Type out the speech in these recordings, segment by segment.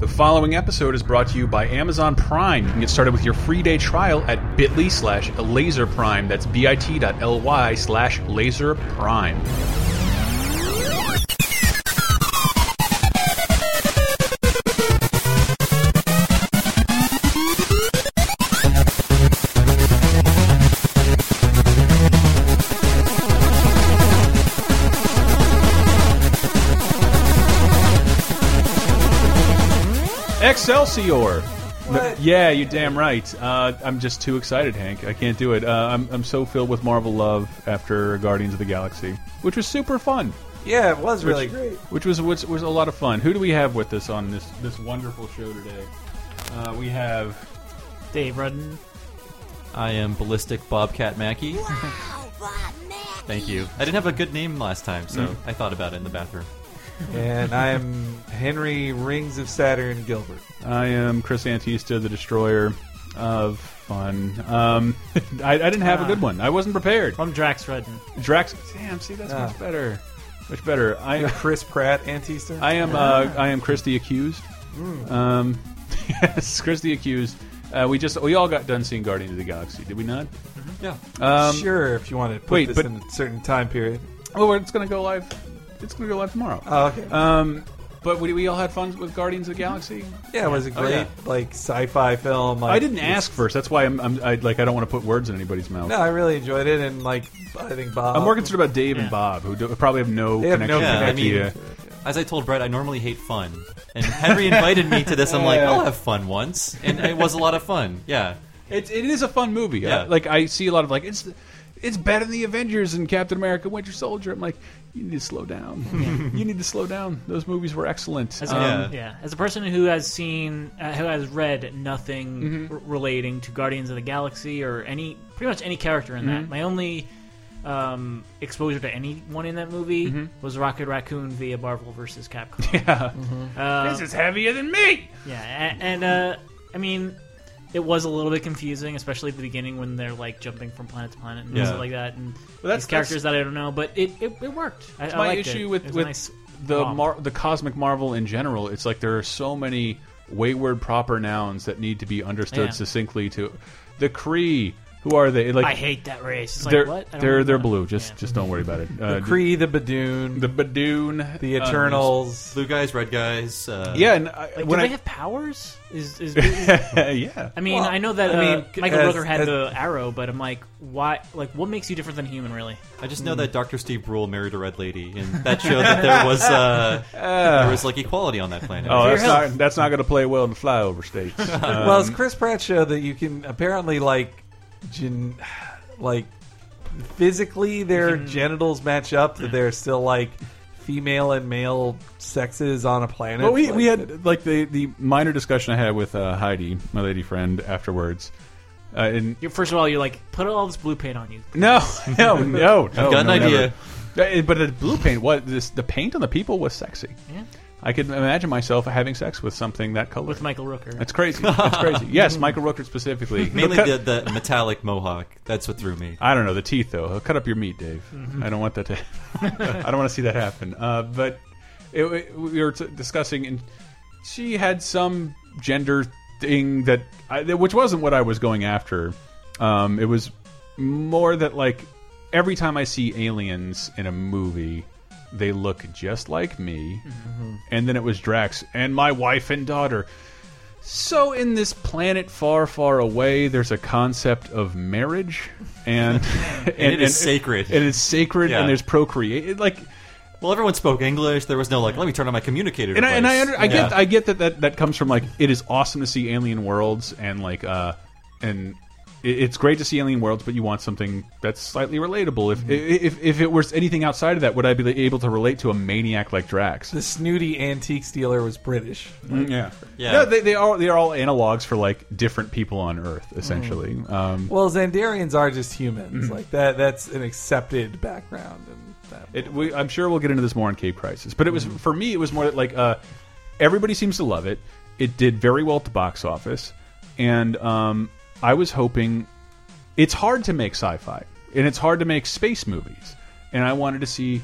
The following episode is brought to you by Amazon Prime. You can get started with your free day trial at bit.ly slash laser prime. That's bit.ly slash laser prime. Excelsior! No, yeah, you're damn right. Uh, I'm just too excited, Hank. I can't do it. Uh, I'm, I'm so filled with Marvel love after Guardians of the Galaxy, which was super fun. Yeah, it was Which- really great. Which was which was a lot of fun. Who do we have with us on this this wonderful show today? Uh, we have Dave Rudden. I am Ballistic Bobcat Mackey. Wow, Bob Mack. Thank you. I didn't have a good name last time, so Mm. I thought about it in the bathroom. And I'm Henry Rings of Saturn Gilbert. I am Chris Antista, the destroyer of fun. Um, I, I didn't have a good one. I wasn't prepared. I'm Drax Rudden. Drax, damn, see that's Ah. much better. Much better. I Chris Pratt Antista. I am uh, I am Chris the accused. Um, yes, Chris the accused. Uh, we just we all got done seeing Guardians of the Galaxy, did we not? Yeah. Um, sure, if you want to put wait, this but- in a certain time period. Oh, it's gonna go live. It's gonna go live tomorrow. Oh, okay. Um, but we, we all had fun with Guardians of the Galaxy. yeah, it was a oh, great yeah. like sci-fi film. Like, I didn't it's- ask first. That's why I'm, I'm I, like I don't want to put words in anybody's mouth. No, I really enjoyed it, and like I think Bob. I'm more concerned about Dave and Yeah. Bob, who do, probably have no They have no connection to that connection. idea. to it, yeah. As I told Brett, I normally hate fun. And Henry invited me to this. I'm like, I'll have fun once. And it was a lot of fun. Yeah. It, it is a fun movie. Yeah. Uh, like I see a lot of like it's it's better than the Avengers and Captain America: Winter Soldier. I'm like, you need to slow down. you need to slow down. Those movies were excellent. As a, Um, Yeah. yeah, as a person who has seen, uh, who has read nothing r- relating to Guardians of the Galaxy or any, pretty much any character in that, my only um, exposure to anyone in that movie was Rocket Raccoon via Marvel versus Capcom. Uh, Yeah, this is heavier than me. yeah, a- and uh, I mean, it was a little bit confusing, especially at the beginning when they're like jumping from planet to planet and Yeah. stuff like that, and that's- these characters that I don't know, but it it, it worked. I, I my liked issue it. with It was a with nice the romp. mar- the cosmic marvel in general. It's like there are so many wayward proper nouns that need to be understood Yeah. succinctly. To the Kree, who are they? Like I hate that race. It's like, they're what? I don't they're know. they're blue. Just Yeah. just don't worry about it. The Uh, Kree, the Badoon, the the, Badoon, uh, Eternals. Blue guys, red guys. Uh, yeah, and I, Like, do when they I have powers? Is, is, is yeah. I mean, Well, I know I that uh, mean, Michael as- Rooker had as- the arrow, but I'm like, why? Like, what makes you different than human, really? I just know that Dr. Steve Brule married a red lady, and that showed that there was uh, there was like equality on that planet. Oh, your that's health. not, that's not going to play well in the flyover states. Uh, well, it's Chris Pratt show that you can apparently like, gen- like physically their Mm-hmm. genitals match up. That they're still like female and male sexes on a planet. but we, Like, we had like the, the minor discussion I had with uh, Heidi, my lady friend, afterwards. Uh, and You're, first of all, you're like, put all this blue paint on you. no, no, no, no. got an no, idea. never. Uh, But the blue paint, what this the paint on the people was sexy. Yeah. I could imagine myself having sex with something that color. With Michael Rooker. that's crazy. That's crazy. Yes, Michael Rooker specifically. Mainly He'll the, cut- the metallic mohawk. That's what threw me. I don't know the teeth though. He'll cut up your meat, Dave. I don't want that to. I don't want to see that happen. Uh, but it, it- we were t discussing, and she had some gender thing that, I, that- which wasn't what I was going after. Um, it was more that like every time I see aliens in a movie, they look just like me. And then it was Drax and my wife and daughter. So, in this planet far, far away, there's a concept of marriage, and and, it is sacred. And it's sacred, Yeah. and there's procreate. Like, Well, everyone spoke English. There was no like, let me turn on my communicator. and I and I, device. under, I Yeah. get I get that, that that comes from like it is awesome to see alien worlds and like uh and it, it's great to see alien worlds, but you want something that's slightly relatable. If if if it was anything outside of that, would I be able to relate to a maniac like Drax? the snooty antique dealer was British. Yeah, Yeah. No, they, they are they are all analogs for like different people on Earth, essentially. Um, Well, Zandarians are just Mm-hmm. humans. Like that. That's an accepted background. And that. It, we, I'm sure we'll get into this more on Cape Crisis, but it was for me. It was more that like uh, everybody seems to love it. It did very well at the box office, and um, I was hoping. It's hard to make sci-fi, and it's hard to make space movies, and I wanted to see.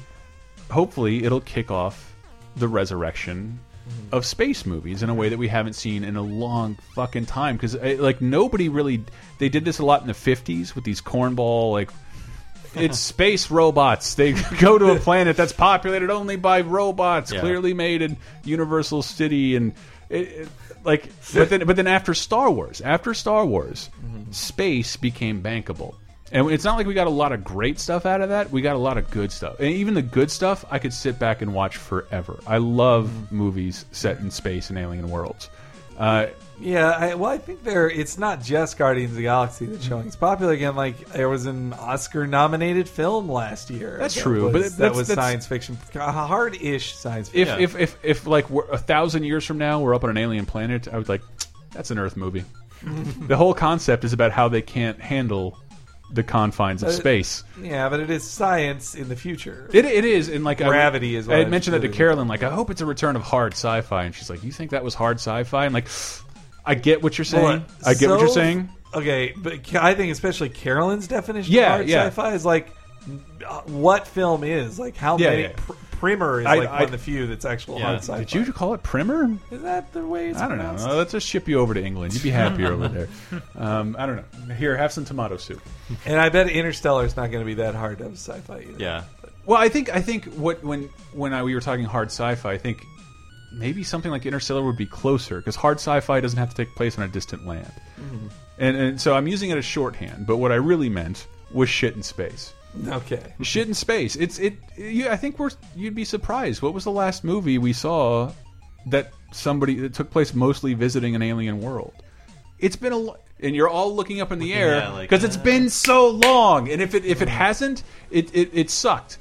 Hopefully, it'll kick off the resurrection of space movies in a way that we haven't seen in a long fucking time. Because like nobody really, they did this a lot in the '50s with these cornball like. It's space robots. They go to a planet that's populated only by robots, Yeah. clearly made in Universal City, and it, it- like. But then, but then after Star Wars, after Star Wars, space became bankable. And it's not like we got a lot of great stuff out of that. We got a lot of good stuff. And even the good stuff, I could sit back and watch forever. I love movies set in space and alien worlds. Uh, Yeah, I, well, I think there. It's not just Guardians of the Galaxy that's showing it's popular again. Like there was an Oscar-nominated film last year. That's that true, was- but that that's- was that's- science fiction, hard-ish science if, fiction. Yeah. if, if, if like we're a thousand years from now, we're up on an alien planet, I would like, that's an Earth movie. the whole concept is about how they can't handle the confines of Uh, space. yeah, but it is science in the future. It, it is, and like I- Gravity is what I I had mentioned that to really- Carolyn. Like, I hope it's a return of hard sci-fi, and she's like, "You think that was hard sci-fi?" And like, I get what you're saying. Well, I get what so- you're saying. Okay, but ca- I think especially Carolyn's definition Yeah, of hard yeah. sci-fi is like uh, what film is like how Yeah, many yeah. Pr- Primer is I- like I- one of the few that's actual Yeah. hard sci-fi. Did you call it primer? Is that the way it's I don't know. pronounced? Uh, Let's just ship you over to England. You'd be happier over there. Um, I don't know. Here, have some tomato soup. And I bet Interstellar is not going to be that hard of sci-fi either. Yeah. Well, I think I think what when when I, we were talking hard sci-fi, I think maybe something like Interstellar would be closer because hard sci-fi doesn't have to take place on a distant land. Mm-hmm. And, and so I'm using it as shorthand, but what I really meant was shit in space. Okay. shit in space. It's it. You, I think we're. You'd be surprised. What was the last movie we saw that somebody that took place mostly visiting an alien world? It's been a. lo- And you're all looking up in the air Yeah, like, because it's uh. mm-hmm. been so long. And if it if it hasn't, it it, it sucked.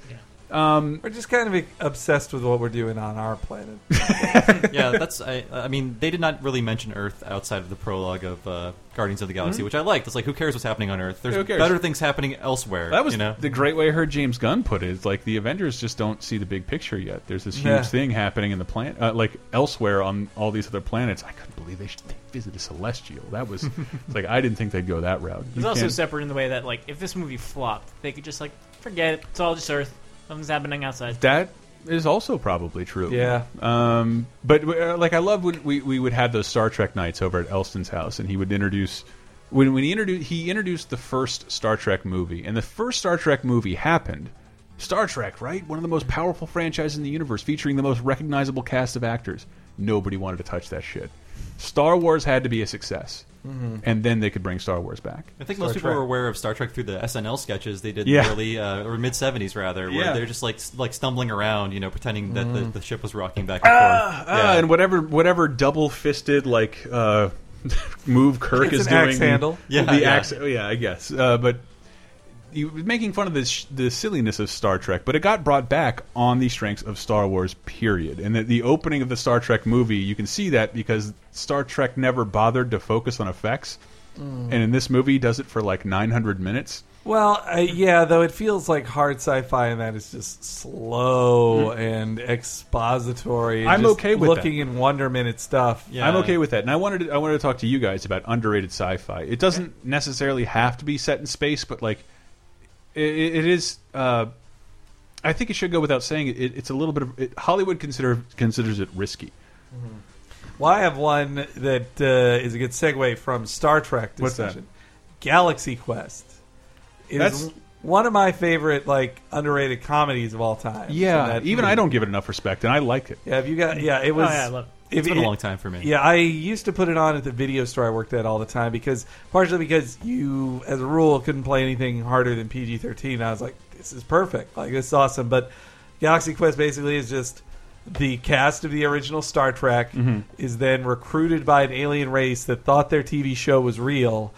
We're just kind of e- obsessed with what we're doing on our planet. yeah, that's. I, I mean, they did not really mention Earth outside of the prologue of uh, Guardians of the Galaxy, which I liked. It's like, who cares what's happening on Earth? There's Mm-hmm. Who cares? better things happening elsewhere. That was you know. the great way I heard James Gunn put it. It's like the Avengers just don't see the big picture yet. There's this huge Yeah. thing happening in the planet, uh, like elsewhere on all these other planets. I couldn't believe they should they visited Celestial. That was it's like I didn't think they'd go that route. You It's also can't- separate in the way that like if this movie flopped, they could just like forget it. It's all just Earth. Something's happening outside. That is also probably true. Yeah. Um, but uh, like I love when we, we would have those Star Trek nights over at Elston's house, and he would introduce when when he introduced he introduced the first Star Trek movie, and the first Star Trek movie happened. Star Trek, right? One of the most powerful franchises in the universe, featuring the most recognizable cast of actors. Nobody wanted to touch that shit. Star Wars had to be a success, and then they could bring Star Wars back. I think most people Trek. were aware of Star Trek through the SNL sketches they did in Yeah. the early uh, or mid '70s rather, where Yeah. Mm. they're just like s- like stumbling around, you know, pretending that the, the ship was rocking back and forth. Ah, and whatever whatever double fisted like uh, move Kirk It's is an doing. axe handle. Yeah, Yeah, the yeah. axe. oh, yeah, I guess. Uh, but you making fun of the sh the silliness of Star Trek, but it got brought back on the strengths of Star Wars. Period. And the, the opening of the Star Trek movie, you can see that because Star Trek never bothered to focus on effects, Mm. and in this movie, does it for like 900 minutes. Well, uh, yeah, though it feels like hard sci-fi, and that is just slow and expository. and Hmm. I'm just okay with that. looking in wonderment at stuff. Yeah. I'm okay with that, and I wanted to, I wanted to talk to you guys about underrated sci-fi. It doesn't necessarily have to be set in space, but like it, it is. Uh, I think it should go without saying it, it's a little bit of it, Hollywood consider considers it risky. Well, I have one that uh, is a good segue from Star Trek What's that? discussion. Galaxy Quest. It is That's- one of my favorite, like underrated comedies of all time. And that even movie- I don't give it enough respect, and I like it. Yeah, have you got? Yeah, it Oh was. yeah, I love. It. if It's been it- a long time for me. Yeah, I used to put it on at the video store I worked at all the time because partially because you, as a rule, couldn't play anything harder than PG thirteen. I was like, this is perfect, like this is awesome. But Galaxy Quest basically is just the cast of the original Star Trek is then recruited by an alien race that thought their TV show was real,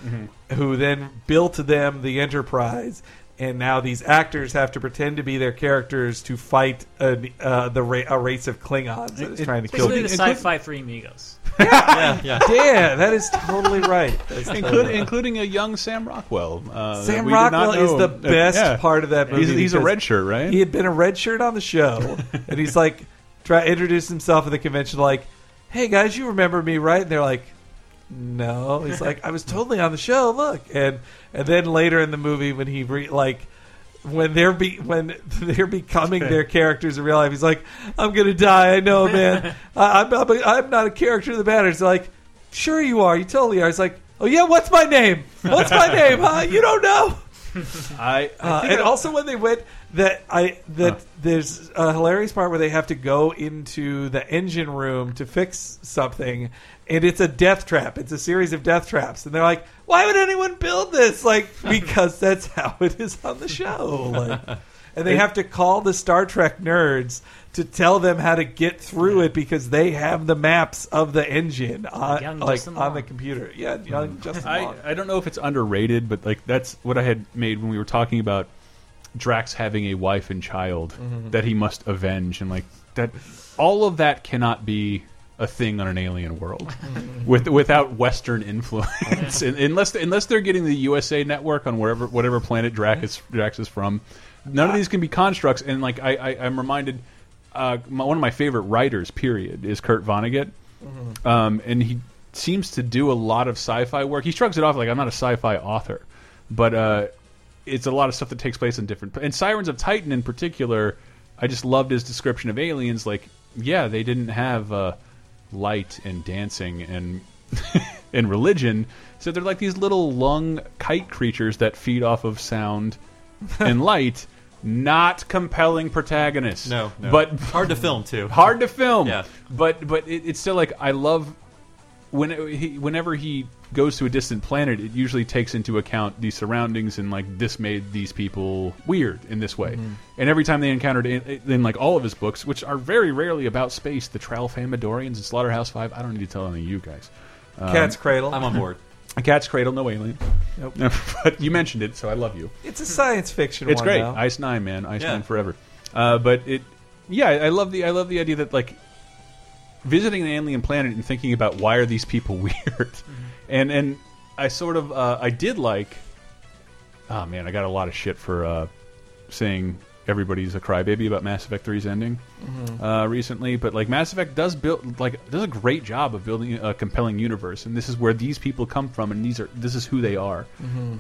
who then built them the Enterprise. And now these actors have to pretend to be their characters to fight a, uh, the ra- a race of Klingons that is It- trying to it's kill Killed Basically, it. them. the Including- sci-fi Three Amigos. yeah, yeah. Yeah, that is totally right. That's totally Including, right. including a young Sam Rockwell. Uh, that Sam we did not Rockwell is know. the Uh, best yeah. part of that movie. He's, he's a because red shirt, right? He had been a red shirt on the show, and he's like, try introduce himself at the convention, like, "Hey guys, you remember me, right?" And they're like, "No." He's like, "I was totally on the show. Look," and and then later in the movie when he re- like when they're be when they're becoming their characters in real life. He's like, I'm gonna die. I know, man. I, I'm, I'm, I'm not a character that matters. They're like, sure you are. You totally are. He's like, oh yeah. What's my name? What's my name? Huh? You don't know. I, I Uh, think and I- also when they went that I that Huh. there's a hilarious part where they have to go into the engine room to fix something, and it's a death trap. It's a series of death traps, and they're like, "Why would anyone build this?" Like because that's how it is on the show. Like, and they have to call the Star Trek nerds to tell them how to get through it because they have the maps of the engine on, Young like Justin on Long. the computer. Yeah, young Justin. I, Long. I don't know if it's underrated, but like that's what I had made when we were talking about Drax having a wife and child that he must avenge, and like that, all of that cannot be a thing on an alien world with without Western influence, Un- unless unless they're getting the USA Network on wherever whatever planet Drax is, Drax is from. None of these can be constructs, and like I, I I'm reminded, uh, my, one of my favorite writers, period, is Kurt Vonnegut um, and he seems to do a lot of sci-fi work. He shrugs it off like I'm not a sci-fi author, but uh, it's a lot of stuff that takes place in different. And Sirens of Titan in particular, I just loved his description of aliens. Like, yeah, they didn't have uh, light and dancing and and religion, so they're like these little lung kite creatures that feed off of sound and light. Not compelling protagonists. No, no. but hard to film too. hard to film. Yeah. But but it, it's still like I love when he, whenever he goes to a distant planet, it usually takes into account the surroundings and like this made these people weird in this way. And every time they encountered in, in like all of his books, which are very rarely about space, the Trowel Famadorians and Slaughterhouse Five. I don't need to tell any of you guys. Cat's Cradle. I'm on board. um, A cat's cradle, no alien. but you mentioned it, so I love you. it's a science fiction. It's one, great. though. Ice Nine, man. Ice Yeah. Nine forever. Uh, but it, yeah, I love the I love the idea that like visiting an alien planet and thinking about why are these people weird, and and I sort of uh, I did like. Oh man, I got a lot of shit for uh, saying everybody's a crybaby about Mass Effect 3's ending uh, recently, but like Mass Effect does build like does a great job of building a compelling universe, and this is where these people come from, and these are this is who they are.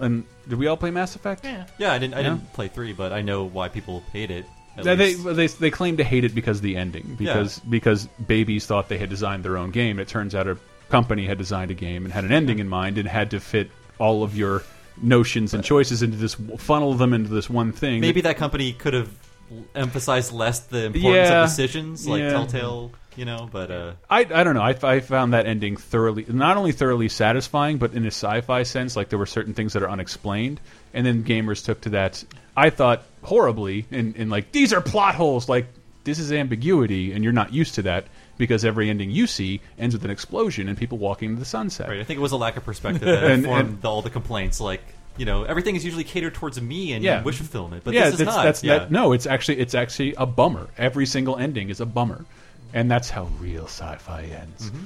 And did we all play Mass Effect? Yeah. Yeah, I didn't. I Yeah. didn't play three, but I know why people hate it. at They, they least. they they claim to hate it because of the ending because because babies thought they had designed their own game. It turns out a company had designed a game and had an ending in mind and had to fit all of your notions and choices into this funnel them into this one thing. Maybe that company could have l- emphasized less the importance Yeah. of decisions, like Yeah. Telltale, you know. But uh, I I don't know. I, I found that ending thoroughly not only thoroughly satisfying, but in a sci-fi sense, like there were certain things that are unexplained, and then gamers took to that. I thought horribly, and and like these are plot holes. Like this is ambiguity, and you're not used to that because every ending you see ends with an explosion and people walking into the sunset. right, I think it was a lack of perspective that And- informed and- the- all the complaints. Like you know, everything is usually catered towards me, and Yeah. you wish to film it, but yeah, this is that's, not. that's yeah. that. No, it's actually it's actually a bummer. Every single ending is a bummer, and that's how real sci-fi ends. Mm-hmm.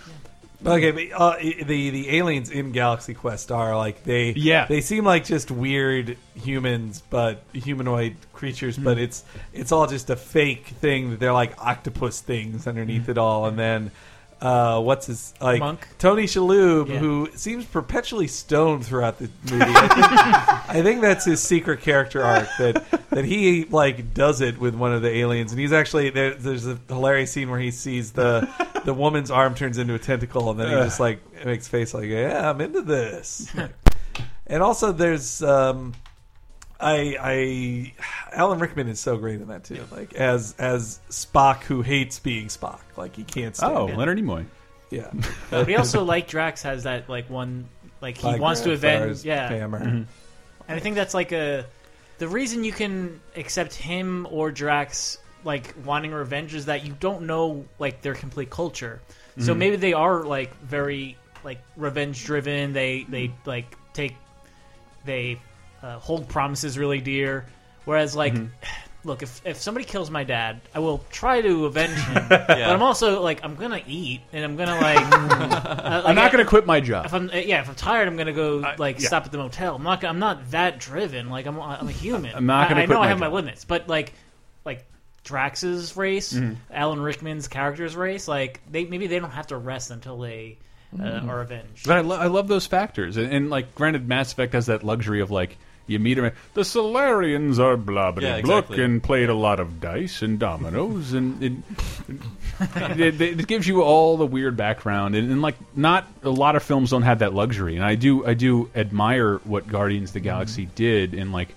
Okay, but uh, i- the the aliens in Galaxy Quest are like they Yeah. they seem like just weird humans, but humanoid creatures. But it's it's all just a fake thing that they're like octopus things underneath it all, and then. Uh, what's his like Monk? Tony Shalhoub, Yeah. who seems perpetually stoned throughout the movie. I think that's his secret character arc that that he like does it with one of the aliens, and he's actually there, there's a hilarious scene where he sees the the woman's arm turns into a tentacle, and then he just like makes face like, "Yeah, I'm into this." and also, there's um, I I Alan Rickman is so great in that too, like as as Spock who hates being Spock, like he can't. Stand Oh, it. Leonard Nimoy. yeah, But he also, like Drax, has that like one, like he Like wants to avenge. Grandfather's Yeah, Hammer. and I think that's like a the reason you can accept him or Drax like wanting revenge is that you don't know like their complete culture. So Mhm. maybe they are like very like revenge driven. They they like take they uh, hold promises really dear. Whereas like. Mhm. Look, if, if somebody kills my dad, I will try to avenge him. But I'm also like, I'm gonna eat, and I'm gonna like, uh, I'm like, not going to quit my job. if I'm uh, yeah, if I'm tired, I'm gonna go like Uh, yeah. stop at the motel. I'm not gonna- I'm not that driven. Like I'm I'm a human. I'm not gonna I, I quit know my I have my job. limits, but like like Drax's race, Mm-hmm. Alan Rickman's character's race, like they maybe they don't have to rest until they uh, are avenged. But I, lo- I love those factors, and, and like, granted, Mass Effect has that luxury of like You meet him. and, The Solarians are blah blah Yeah, blah, exactly. and played a lot of dice and dominoes, and it, it, it- it gives you all the weird background. And, and like, not a lot of films don't have that luxury. And I do, I do admire what Guardians of the Galaxy Mm-hmm. did. And like,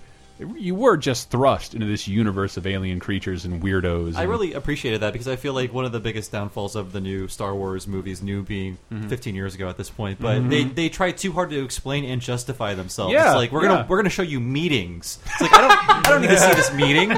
you were just thrust into this universe of alien creatures and weirdos. I and- really appreciated that because I feel like one of the biggest downfalls of the new Star Wars movies, new being Mm-hmm. 15 years ago at this point, but they they try too hard to explain and justify themselves. Yeah, it's like we're gonna yeah. we're gonna show you meetings. It's like I don't I don't need to see this meeting.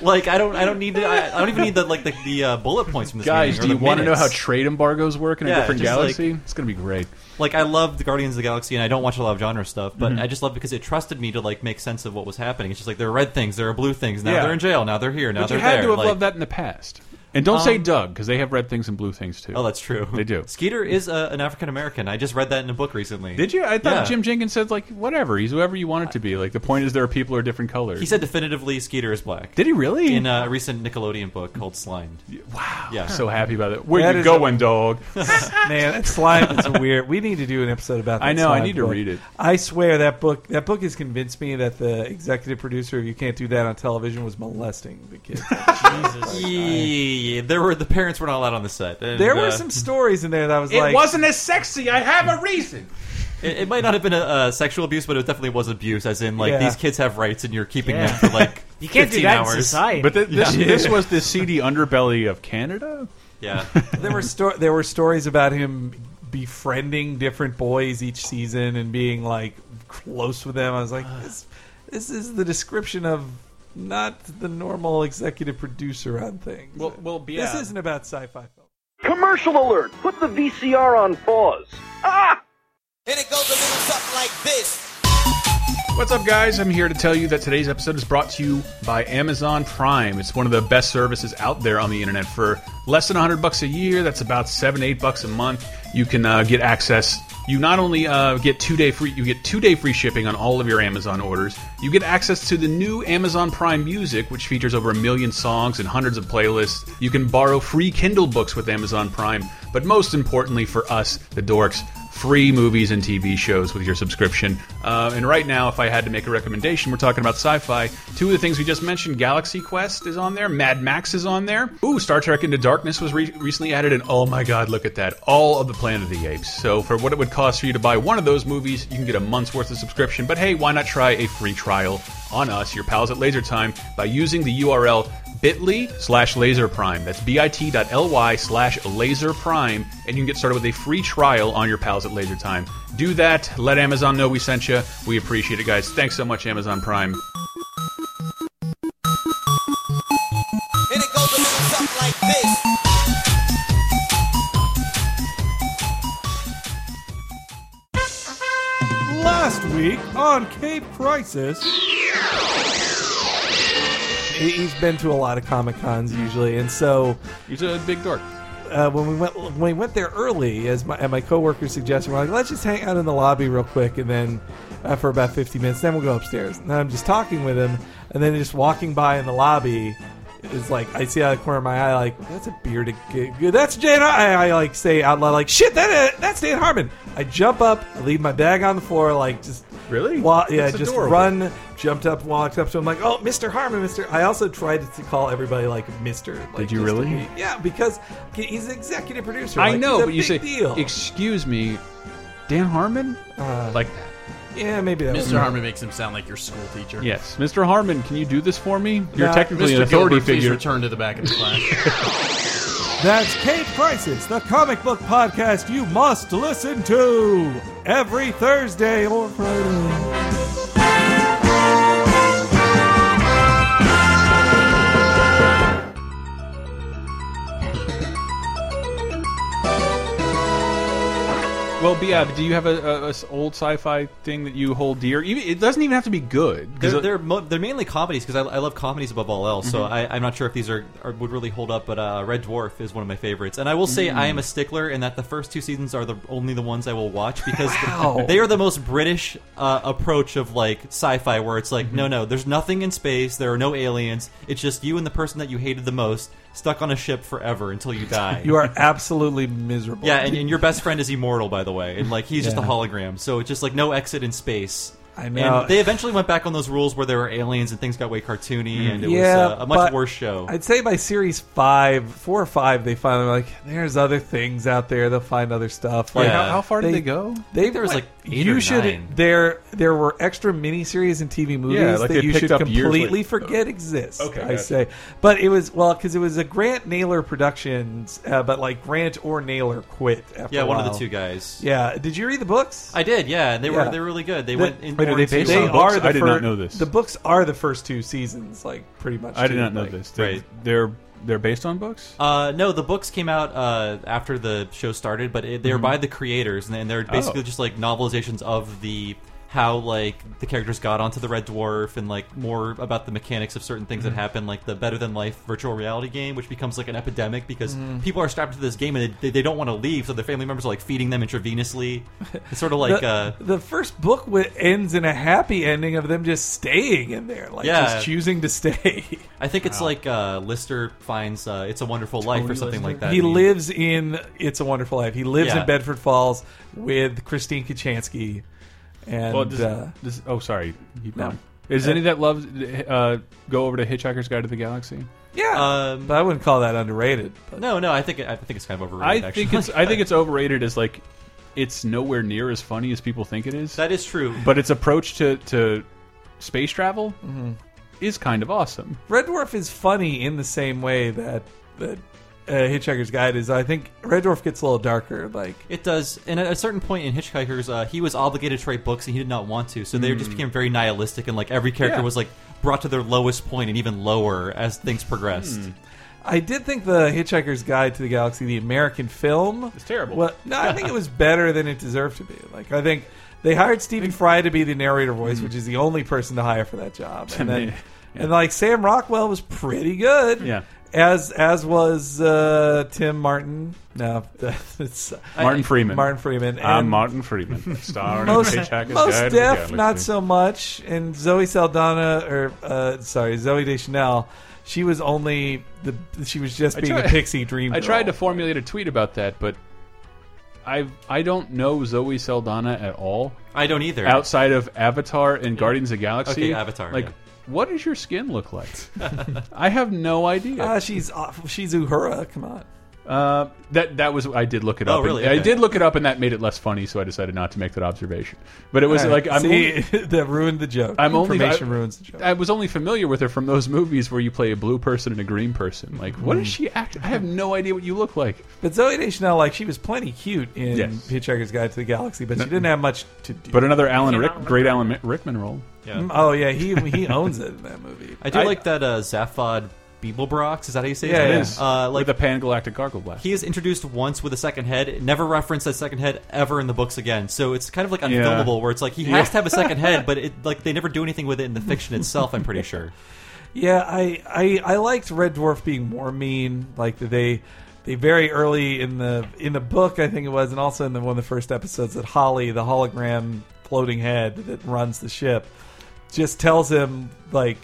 Like I don't I don't need to, I, I don't even need the like the, the uh, bullet points from this Guys, meeting or do you the want to know how minutes. trade embargoes work in a Yeah, different just like- galaxy? it's going to be great. like I loved Guardians of the Galaxy, and I don't watch a lot of genre stuff, but Mm-hmm. I just love because it trusted me to like make sense of what was happening. It's just like there are red things, there are blue things. Now Yeah. they're in jail. Now they're here. Now But you they're had there. to have like, loved that in the past. And don't say Doug because they have red things and blue things too. Oh, that's true. They do. Skeeter is uh, an African American. I just read that in a book recently. Did you? I thought Yeah. Jim Jenkins said like whatever. He's whoever you want it to be. Like the point is there are people who are different colors. He said definitively Skeeter is black. Did he really? in a recent Nickelodeon book called Slimed. wow. Yeah. So happy about it. Where That you is going, dog? Man, that slime is weird. We need to do an episode about. That I know, I slime need to book. read it. I swear that book. That book has convinced me that the executive producer of "You Can't Do That on Television" was molesting the kids. Jesus. Yeah, there were the parents were not allowed on the set. and, there were uh, some stories in there that was like, as sexy. I have a reason. It, it might not have been a, uh sexual abuse, but it definitely was abuse. As in, like Yeah. these kids have rights, and you're keeping Yeah. them for like You can't do 15 that hours. in society. But th- this this was the seedy underbelly of Canada. Yeah, there were sto- there were stories about him befriending different boys each season and being like close with them. I was like, this, this is the description of not the normal executive producer on things. Well- well, this yeah. isn't about sci-fi film. Commercial alert! Put the VCR on pause. Ah! And it goes a little something like this. What's up, guys? I'm here to tell you that today's episode is brought to you by Amazon Prime. It's one of the best services out there on the internet for less than 100 bucks a year. That's about seven, eight bucks a month. You can uh, get access. You not only uh, get two day free, you get two day free shipping on all of your Amazon orders. You get access to the new Amazon Prime Music, which features over a million songs and hundreds of playlists. You can borrow free Kindle books with Amazon Prime. But most importantly for us, the dorks, free movies and TV shows with your subscription. Uh, and right now, if I had to make a recommendation, we're talking about sci-fi. Two of the things we just mentioned, Galaxy Quest is on there, Mad Max is on there. Ooh, Star Trek Into Darkness was re recently added, and oh my god, look at that! All of the Planet of the Apes. So for what it would cost for you to buy one of those movies, you can get a month's worth of subscription. But hey, why not try a free trial on us, your pals at Laser Time, by using the URL bit.ly slash laser prime. That's bit.ly slash laser prime, and you can get started with a free trial on your pals at Laser Time. Do that. Let Amazon know we sent you. We appreciate it, guys. Thanks so much, Amazon Prime. And it goes a little something like this. Last week on Cape Crisis. He- He's been to a lot of Comic Cons usually, and so He's a big dork. uh, when we went when we went there early, as my and my coworker suggested, we're like, let's just hang out in the lobby real quick, and then uh, for about fifty minutes, then we'll go upstairs. And I'm just talking with him, and then just walking by in the lobby is like I see out of the corner of my eye, like that's a bearded kid. That's Jane. Har-" I, I like say out loud, like shit, that uh, that's Dan Harmon. I jump up, I leave my bag on the floor, like just Really? Wa- yeah, That's just adorable. run jumped up, walked up to him like, "Oh, Mr. Harmon, Mr." I also tried to call everybody like Mr. Like, Did you just to really? be- yeah, because he's an executive producer. I Like, know, he's a but you say, big deal. excuse me, Dan Harmon? Uh, like that. yeah, maybe that. was- Mr. Harmon makes him sound like your school teacher. Yes. Mr. Harmon, can you do this for me? You're Nah, technically an Mr. authority Gilbert, please figure. return to the back of the class. That's Cape Crisis, the comic book podcast you must listen to every Thursday or Friday. Well, but yeah, but do you have a, a- a s- old sci-fi thing that you hold dear? Even, it doesn't even have to be good. 'cause They're, it- Mm-hmm. they're, mo- they're mainly comedies because I, I love comedies above all else. So I, I'm not sure if these are, are would really hold up, but uh, Red Dwarf is one of my favorites. And I will say I Mm. am a stickler in that the first two seasons are the only the ones I will watch because they are the most British uh, approach of like sci-fi, where it's like no, Mm-hmm. no, there's nothing in space, there are no aliens. It's just you and the person that you hated the most stuck on a ship forever until you die. You are absolutely miserable. yeah, and, and your best friend is immortal, by the way, and like he's just a Yeah. hologram. So it's just like no exit in space. I And know. they eventually went back on those rules where there were aliens and things got way cartoony, and it yeah, was uh, a much but worse show. I'd say by series five, four or five, they finally were like, there's other things out there. They'll find other stuff. Like, Yeah. How, how far did They- they go? They, there was, like, eight you or should nine. there there were extra miniseries and TV movies Yeah, like they that you picked should up years completely later. forget exist. Okay, I gotcha. say, but it was well because it was a Grant Naylor Productions, uh, but like Grant or Naylor quit. After yeah, a one of the while. two guys. Yeah, did you read the books? I did. Yeah, and they were Yeah. they were really good. They The- went. In Wait, are more they into, based uh, on books? I did not fir- know this. The books are the first two seasons, like pretty much. I did too, not know like- this. They, Right. They're they're based on books. Uh, no, the books came out uh, after the show started, but it, they're by the creators, and, and they're Mm-hmm. basically Oh. just like novelizations of the how like the characters got onto the Red Dwarf, and like more about the mechanics of certain things that Mm-hmm. happen, like the Better Than Life virtual reality game, which becomes like an epidemic because Mm-hmm. people are strapped to this game and they, they don't want to leave, so their family members are like feeding them intravenously. It's sort of like. the, uh, the first book wi- ends in a happy ending of them just staying in there, like Yeah. just choosing to stay. I think it's like uh, Lister finds uh, "It's a Wonderful Life" or something like that. he And lives in It's a Wonderful Life. He lives Yeah. in Bedford Falls with Christine Kachansky, and well, does, uh, does- oh, sorry. Keep no. going. Is any that loves uh, go over to Hitchhiker's Guide to the Galaxy? yeah, Uh, Um, but I wouldn't call that underrated. But No, no, I think it- I think it's kind of I overrated. think actually. it's I think it's overrated as like it's nowhere near as funny as people think it is. that is true. but its approach to to space travel Mm-hmm. is kind of awesome. Red Dwarf is funny in the same way that that uh, Hitchhiker's Guide is. I think Red Dwarf gets a little darker, like. It does. And at a certain point in Hitchhikers, uh, he was obligated to write books and he did not want to. So they just became very nihilistic and like every character Yeah. was like brought to their lowest point and even lower as things progressed. I did think the Hitchhiker's Guide to the Galaxy, the American film, It's terrible. Well, no, I think it was better than it deserved to be. Like, I think they hired Stephen Fry to be the narrator voice, which is the only person to hire for that job. And then, Yeah. and like Sam Rockwell was pretty good. Yeah. As as was uh, Tim Martin. No, it's Martin Freeman. Martin Freeman. Um, I'm And Martin Freeman, star in most Hitchhiker's Guide most to the deaf, Galaxy. not so much. And Zoe Saldana, or uh, sorry, Zoe Deschanel. She was only the. She was just I being a tried- pixie dream. I tried to girl. formulate a tweet about that, but I I don't know Zoe Saldana at all I don't either. outside of Avatar and Guardians of the Galaxy. Okay, Avatar, Like, yeah. what does your skin look like? I have no idea. Uh, Ah, she's awful. She's Uhura. Come on. Uh, that that was I did look it Oh, up. and- really? I Okay. did look it up, and that made it less funny, so I decided not to make that observation. But it was All right. like I'm See, only, that ruined the joke. I'm only- Information I- ruins the joke. I was only familiar with her from those movies where you play a blue person and a green person. Like, what is Hmm. she act? I have no idea what you look like. but Zoe Deschanel, like she was plenty cute in Yes. Hitchhiker's Guide to the Galaxy, but she didn't have much to do. But another Alan cannot Rick, remember great her. Alan Rickman role. yeah. oh yeah, he he owns it in that movie. I do I- like that uh, Zaphod Beeblebrox. Is that how you say Yeah, his it name? is. Uh, like with a pan galactic gargle blast. he is introduced once with a second head, never referenced that second head ever in the books again. So it's kind of like Yeah. unfilmable, where it's like he has to have a second head, but it like they never do anything with it in the fiction itself. I'm pretty sure. Yeah, I, I I liked Red Dwarf being more mean. Like that they they very early in the in the book, I think it was, and also in the, one of the first episodes that Holly, the hologram floating head that runs the ship, just tells him like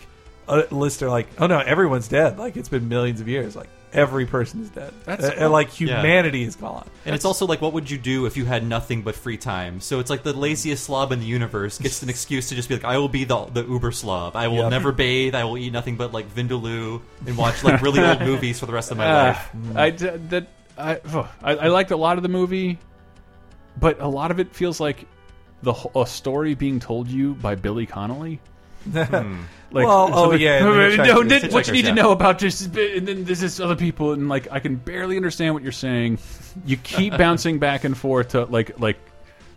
uh, Lister, like, oh no, everyone's dead. Like it's been millions of years. Like every person is dead. That's- Uh, and, like humanity is gone. And it's also like, what would you do if you had nothing but free time? So it's like the laziest slob in the universe gets an excuse to just be like, I will be the, the uber slob. I will Yep. never bathe. I will eat nothing but like Vindaloo and watch like really old movies for the rest of my Uh, life. Hmm. I d- that I, ugh. I I liked a lot of the movie, but a lot of it feels like the wh- a story being told you by Billy Connolly. Like, Well, oh, like, yeah, the no, Hitchhikers. did- what you Hitchhikers, need yeah. to know about this, is, and then this is other people, and like I can barely understand what you're saying. You keep bouncing back and forth to like like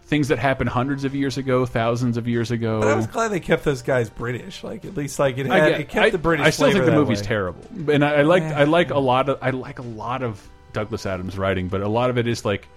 things that happened hundreds of years ago, thousands of years ago. But I was glad they kept those guys British. Like at least like it I had, get- it kept I- the British. I still flavor think the that movie's way. terrible, and I, I like Yeah. I like a lot of I like a lot of Douglas Adams writing, but a lot of it is like,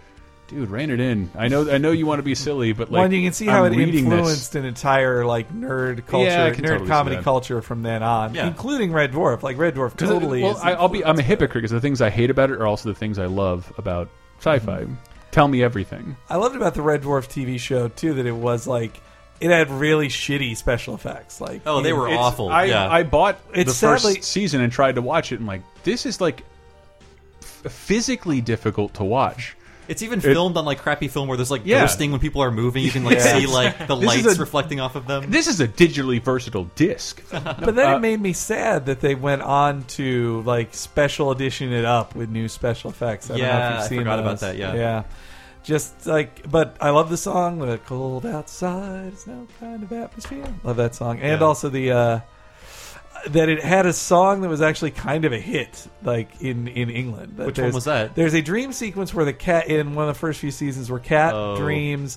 dude, rein it in. I know I know you want to be silly, but like One, you can see how I'm it reading this. influenced an entire like nerd culture, Yeah, I nerd can totally see comedy that. culture from then on, Yeah. including Red Dwarf. Like Red Dwarf 'Cause it- totally. well, is I, I'll be I'm a influenced. hypocrite because the things I hate about it are also the things I love about sci-fi. Mm-hmm. Tell me everything. I loved about the Red Dwarf TV show too that it was like it had really shitty special effects. Like Oh, they it- were It's- awful. I, yeah. I bought It's the first sadly- season and tried to watch it, and like this is like f- physically difficult to watch. It's even filmed on like crappy film where there's like Yeah. ghosting when people are moving. You can like Yeah. see like the This is lights a- reflecting off of them. This is a digitally versatile disc. But then uh, it made me sad that they went on to like special edition it up with new special effects. I don't know Yeah, if I you've seen forgot about those. that, yeah. yeah. Just like, but I love the song. The cold outside is no kind of atmosphere. Love that song, and Yeah. also the uh, that it had a song that was actually kind of a hit, like in in England. Which one there's- was that? There's a dream sequence where the cat in one of the first few seasons where cat Oh. dreams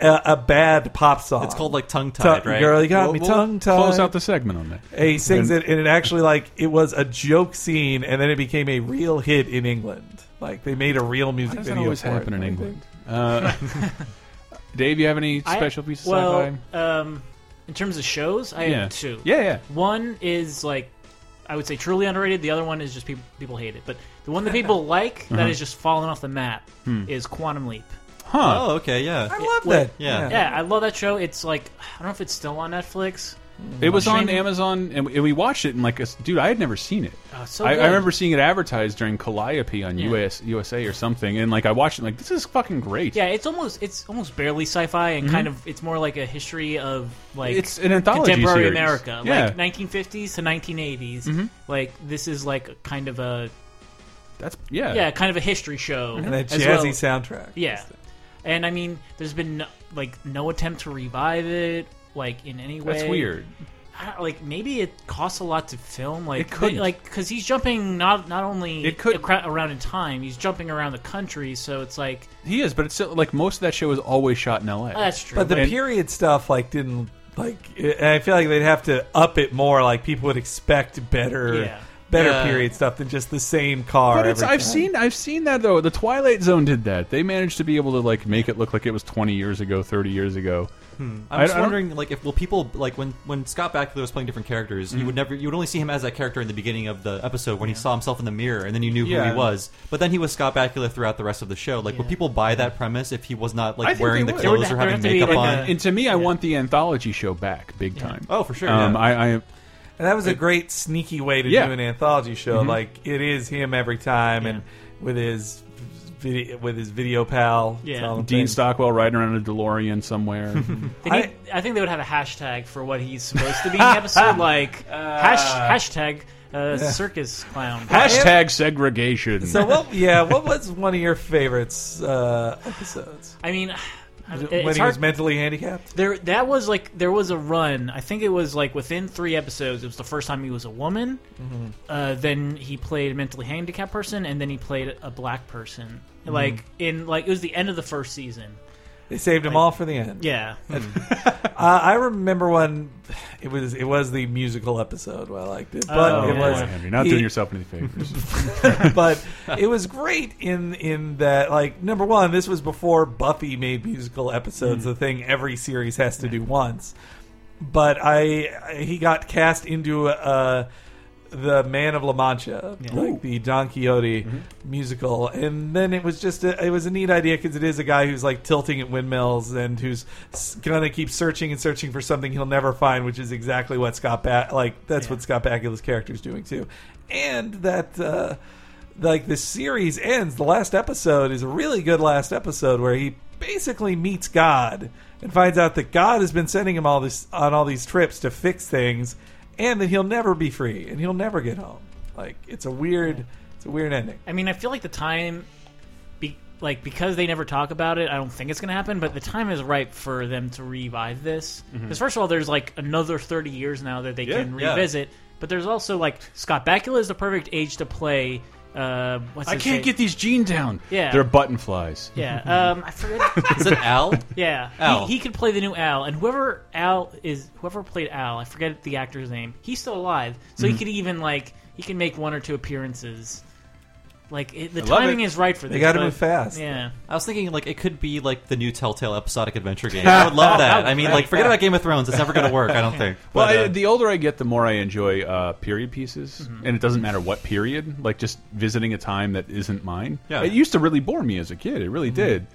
a, a bad pop song. It's called like tongue tied, Tongue- right? Girl, you got We'll- me we'll tongue tied. Close Uh, out the segment on that. And he sings And- it, and it actually like it was a joke scene, and then it became a real hit in England. Like they made a real Why music does that video. always for happen it. in England? Uh, Dave, you have any I- special pieces of well, sci-fi? um, in terms of shows, I Yeah. have two. Yeah, yeah. One is like I would say truly underrated. The other one is just people people hate it. But the one that people like Uh-huh. that has just fallen off the map Hmm. is Quantum Leap. Huh. Oh, okay, yeah. I love Wait, that. yeah. Yeah, I love that show. It's like I don't know if it's still on Netflix. It was on Shame. Amazon, and we, and we watched it. And like, us- dude, I had never seen it. Oh, it's so I, good. I remember seeing it advertised during Calliope on Yeah. US USA or something, and like I watched it. and, Like, this is fucking great. Yeah, it's almost it's almost barely sci-fi and kind of it's more like a history of like Mm-hmm. It's an anthology contemporary series. America, Yeah. Mm-hmm. like 1950s to 1980s. Like this is like a kind of a that's yeah. yeah, kind of a history show Mm-hmm. and that as jazzy well. soundtrack. Yeah, and I mean, there's been no, like no attempt to revive it like in any way. That's weird. I don't- like maybe it costs a lot to film. Like It couldn't. like because he's jumping not not only It couldn't. acro- around in time, he's jumping around the country. So it's like He is, but it's still, like most of that show is always shot in L.A. oh, that's true. but the And- period stuff like didn't like. And I feel like they'd have to up it more. Like people would expect better, Yeah. better Yeah. period stuff than just the same car. But it's, every I've time. seen I've seen that though. The Twilight Zone did that. They managed to be able to like make it look like it was twenty years ago, thirty years ago. I- I'm just I don't- wondering, like, if will people like when when Scott Bakula was playing different characters, Mhm. you would never you would only see him as that character in the beginning of the episode when he saw himself in the mirror, and then you knew who Yeah. he was. But then he was Scott Bakula throughout the rest of the show. Like, would people buy that premise if he was not I like think wearing they the would. clothes There would- or there would having have to be, makeup like, on? a- And to me, I want the anthology show back, big time. oh, for sure. Um, yeah. I, I And that was a great sneaky way to Yeah. Mm-hmm. do an anthology show. Like it is him every time, and with his video, with his video pal, Yeah. Tom Dean Finn. Stockwell riding around in a DeLorean somewhere. They need, I, think they would have a hashtag for what he's supposed to be in the episode, like Uh. hash, hashtag uh, circus clown. Hashtag segregation. So what? Yeah, what was one of your favorites uh, episodes? I mean, When it's he was hard. mentally handicapped. There, that was like there was a run. I think it was like within three episodes. It was the first time he was a woman. Uh, then he played a mentally handicapped person, and then he played a black person. Like in like it was the end of the first season. They saved him all for the end. Yeah, Uh, I remember one. It was it was the musical episode. I liked it, but Oh, it Boy, yeah. was Henry, not he- doing yourself any favors. but it was great in in that like number one, this was before Buffy made musical Mm. episodes the thing every series has to do once. But I, I he got cast into uh, the Man of La Mancha, like the Don Quixote musical, and then it was just a, it was a neat idea because it is a guy who's like tilting at windmills and who's s- gonna keep searching and searching for something he'll never find, which is exactly what Scott ba- like that's what Scott Bakula's character is doing too, and that. Uh, like the series ends the last episode is a really good last episode where he basically meets god and finds out that god has been sending him all this on all these trips to fix things and that he'll never be free and he'll never get home like it's a weird it's a weird ending I mean, I feel like the time, be, like because they never talk about it, I don't think it's going to happen. But the time is ripe for them to revive this. Because first of all, there's like another thirty years now that they can yeah. revisit. But there's also like Scott Bakula is the perfect age to play. Uh, what's I his can't name? get these jeans down. Yeah. They're button flies. Yeah, um, I forget. Is it Al? Yeah, Al. He, he could play the new Al, and whoever Al is, whoever played Al, I forget the actor's name. He's still alive, so he could even like he can make one or two appearances. Like it, the love timing it. is right for this. gotta but- move fast. Yeah, I was thinking like it could be like the new Telltale episodic adventure game. I would love that. I mean, like forget about Game of Thrones; it's never going to work. I don't think. Well, But, I, uh, the older I get, the more I enjoy uh, period pieces, and it doesn't matter what period. Like just visiting a time that isn't mine. Mm-hmm. Yeah. It used to really bore me as a kid. It really did.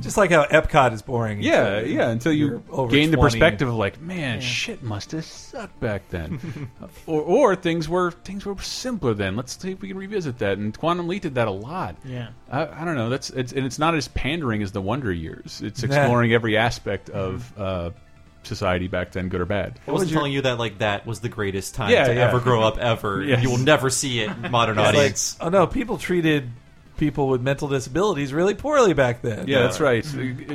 Just like how Epcot is boring. Yeah, yeah. Until you you're over gain the 20. perspective of like, man, shit must have sucked back then, or or things were things were simpler then. Let's see if we can revisit that. And Quantum Leap did that a lot. Yeah. I, I don't know. That's it's and it's not as pandering as the Wonder Years. It's exploring every aspect of uh, society back then, good or bad. I wasn't telling you that like that was the greatest time Yeah, to yeah. ever grow up ever. Yes. You will never see it, modern It's like, audience. oh no, people treated people with mental disabilities really poorly back then. Yeah, that's right.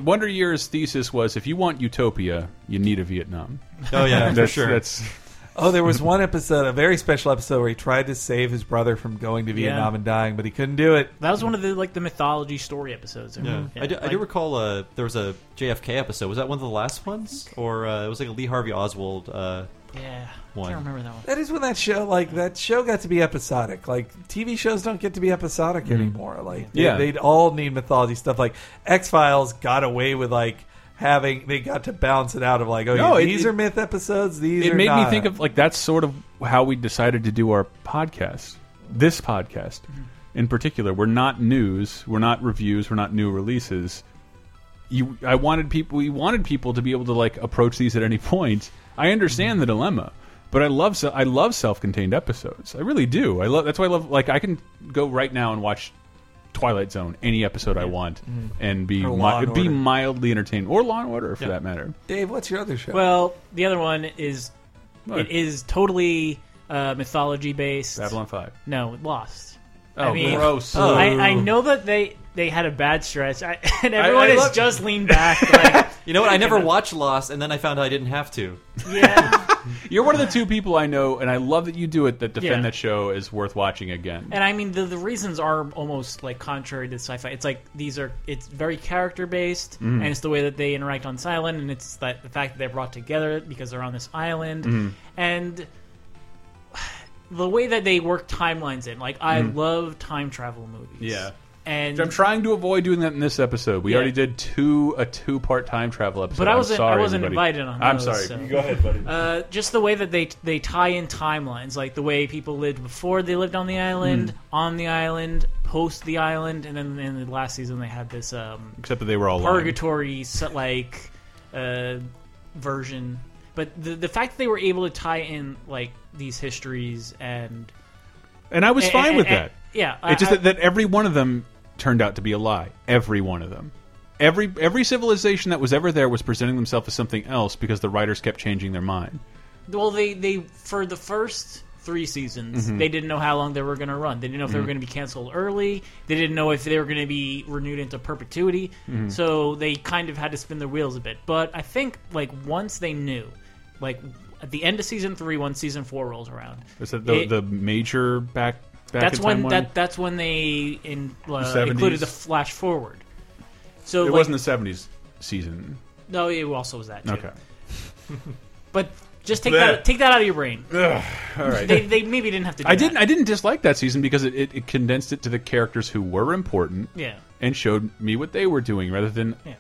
Wonder Years thesis was if you want utopia, you need a Vietnam. oh yeah, for that's, sure. That's Oh, there was one episode, a very special episode, where he tried to save his brother from going to Vietnam and dying, but he couldn't do it. That was one of the like the mythology story episodes. Yeah. I, do, I do recall uh, there was a JFK episode. Was that one of the last ones, or uh, it was like a Lee Harvey Oswald? Uh, Yeah, I One. can't remember that one. That is when that show, like that show, got to be episodic. Like TV shows don't get to be episodic anymore. Like they, Mm-hmm. Yeah. would all need mythology stuff. Like X Files got away with like having they got to balance it out of like, oh, No, yeah, it- these it- are myth episodes. These it are made not. me think of like that's sort of how we decided to do our podcast this podcast Mm-hmm. in particular we're not news we're not reviews we're not new releases you i wanted people we wanted people to be able to like approach these at any point i Mm-hmm. understand the dilemma but i love se- i love self-contained episodes i really do i love that's why i love like i can go right now and watch twilight zone any episode i want and be Mm-hmm. Or mi- Law and be Order. mildly entertained or law and order for Yeah. that matter Dave. What's your other show? Well, the other one is What? it is totally uh, mythology based. babylon 5 No, Lost. oh I mean, gross I, I know that they they had a bad stretch, I, and everyone I has love- just leaned back. Like, you know what? I never watched Lost, and then I found out I didn't have to. yeah, You're one of the two people I know, and I love that you do it. That defend Yeah. that show is worth watching again. and I mean the the reasons are almost like contrary to sci-fi. It's like these are it's very character based, Mm. and it's the way that they interact on this island, and it's that the fact that they're brought together because they're on this island, Mm. and the way that they work timelines in. Like I love time travel movies. Mm. Yeah. and I'm trying to avoid doing that in this episode. We Yeah. already did two a two part time travel episode. But I I'm wasn't- I sorry, wasn't everybody. invited on I'm those, sorry. so- You Go ahead, buddy. Uh, just the way that they they tie in timelines, like the way people lived before they lived on the island, Hmm. on the island, post the island, and then in the last season they had this um, Except that they were all lying. purgatory so- like uh, version. But the the fact that they were able to tie in like these histories and and I was fine and- with and- that. eh, Yeah, I- It's just I- that, that every one of them turned out to be a lie. Every one of them. Every every civilization that was ever there was presenting themselves as something else because the writers kept changing their mind. Well, they they for the first three seasons, Mm-hmm. they didn't know how long they were going to run. They didn't know if they were going to be canceled early. They didn't know if they were going to be renewed into perpetuity. Mm-hmm. So they kind of had to spin their wheels a bit. But I think like once they knew, like at the end of season three, once season four rolls around, Is that the, it- the major back back Eh. that's in time when one? that that's when they in, uh, 70s? included the flash forward. So it like, wasn't the '70s season. no, it also was that too. Okay. But just take Blech. that take that out of your brain. All right. They, they maybe didn't have to. Do I that. didn't. I didn't dislike that season because it, it, it condensed it to the characters who were important Yeah. and showed me what they were doing rather than Yeah.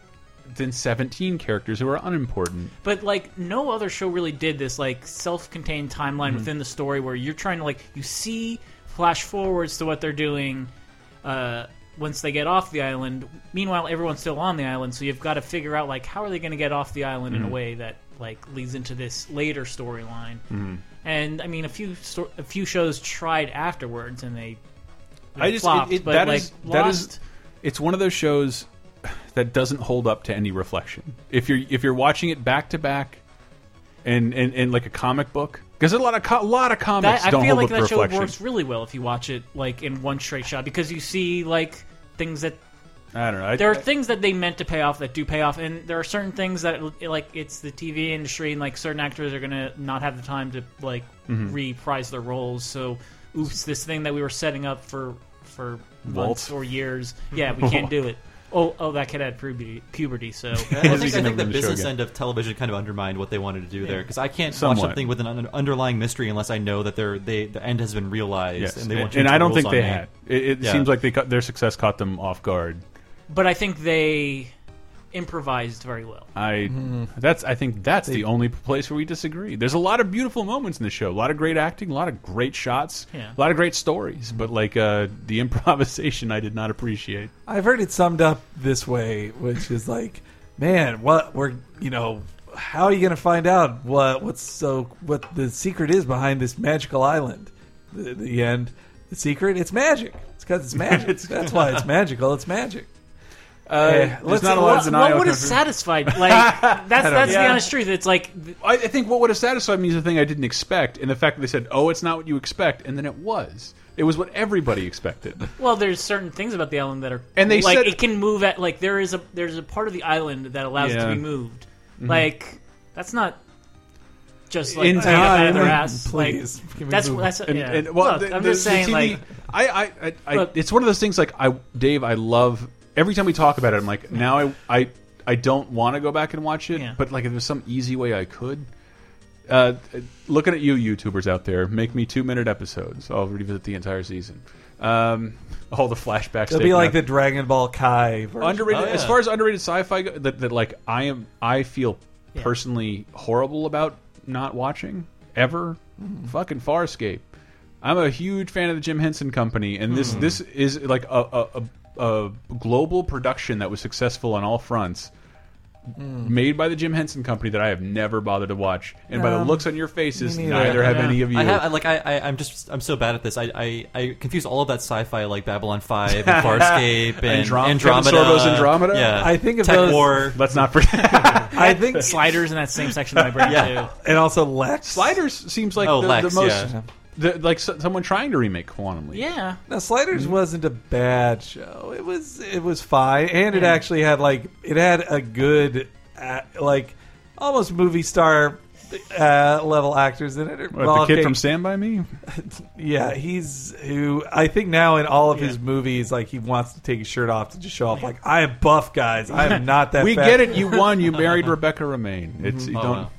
than seventeen characters who are unimportant. But like no other show really did this like self-contained timeline Mm-hmm. within the story where you're trying to like you see flash forwards to what they're doing uh, once they get off the island. Meanwhile, everyone's still on the island, so you've got to figure out like how are they going to get off the island Mm-hmm. in a way that like leads into this later storyline. Mm-hmm. And I mean, a few sto- a few shows tried afterwards and they, they I just flopped, it, it, but that like is- that lost. is it's one of those shows that doesn't hold up to any reflection. If you're if you're watching it back to back, and and, and like a comic book, because a lot of co- a lot of comics That, I don't feel hold like up to that reflection. show works really well if you watch it like in one straight shot because you see like things that I don't know. I, there are things that they meant to pay off that do pay off, and there are certain things that like it's the TV industry and like certain actors are gonna not have the time to like Mm-hmm. reprise their roles. So, oops, this thing that we were setting up for for months or years, yeah, we can't do it. Oh, oh, that kid had puberty, puberty so I He's think, I think never the been to show business again. end of television kind of undermined what they wanted to do there because I can't Somewhat. watch something with an un- underlying mystery unless I know that they're, they the end has been realized yes, and they want and, you and to I don't rules think on they me. had. It, it Yeah. seems like they cut, their success caught them off guard. but I think they improvised very well. I that's I think that's the only place where we disagree. There's a lot of beautiful moments in the show, a lot of great acting, a lot of great shots, Yeah. a lot of great stories. But like uh, the improvisation, I did not appreciate. I've heard it summed up this way, which is like, man, what we're you know, how are you going to find out what what's so what the secret is behind this magical island? The, the end. The secret. It's magic. It's because it's magic. That's why it's magical. It's magic. Uh, there's there's let's- not a lot of what- What, denial. what would have contra- satisfied? Like that's that's know. the honest truth. It's like th- I, I think what would have satisfied me is the thing I didn't expect, and the fact that they said, "Oh, it's not what you expect," and then it was. It was what everybody expected. well, there's certain things about the island that are And they like said- it can move at like there is a there's a part of the island that allows it Yeah. Mm-hmm. to be moved. Like that's not just like In made up out of their time, ass. please, like, can we that's move? that's And, yeah. and- well, Look, the- I'm the- just the saying TV like I, I, I, I Look. it's one of those things. Like I, Dave, I love every time we talk about it. I'm like, now I, I, I don't want to go back and watch it, Yeah. but like, if there's some easy way I could. Uh, looking at you, YouTubers out there, make me two minute episodes. I'll revisit the entire season. Um, all the flashbacks. It'll taken be like out. the Dragon Ball Kai version. underrated Oh, yeah. as far as underrated sci-fi go, that, that like i am i feel Yeah. personally horrible about not watching ever fucking farscape i'm a huge fan of the jim henson company and this this is like a, a, a, a global production that was successful on all fronts Made by the Jim Henson Company that I have never bothered to watch, and by the Um, looks on your faces, me neither. neither have Yeah. any of you. I have I- like I, I I'm just I'm so bad at this. I I, I confuse all of that sci-fi like Babylon Five and Farscape and Androm- Andromeda. Kevin Sorbo's Andromeda? Yeah, I think of Tech those- War. Let's not forget. I think sliders in that same section of my brain Yeah. too. and also Lex. Sliders seems like Oh, the, Lex, the most, yeah. the, like so- someone trying to remake Quantum Leap. Yeah, Now Sliders Hmm? wasn't a bad show. It was it was fine, and Hmm. it actually had like it had a good uh, like almost movie star uh, level actors in it. What, Well, the kid okay, from Stand By Me? yeah, he's who I think now in all of his Yeah. movies like he wants to take his shirt off to just show off like I am buff guys. I am not that. we fat." get it. You won. You married Rebecca Romaine. It's you Oh, don't. wow.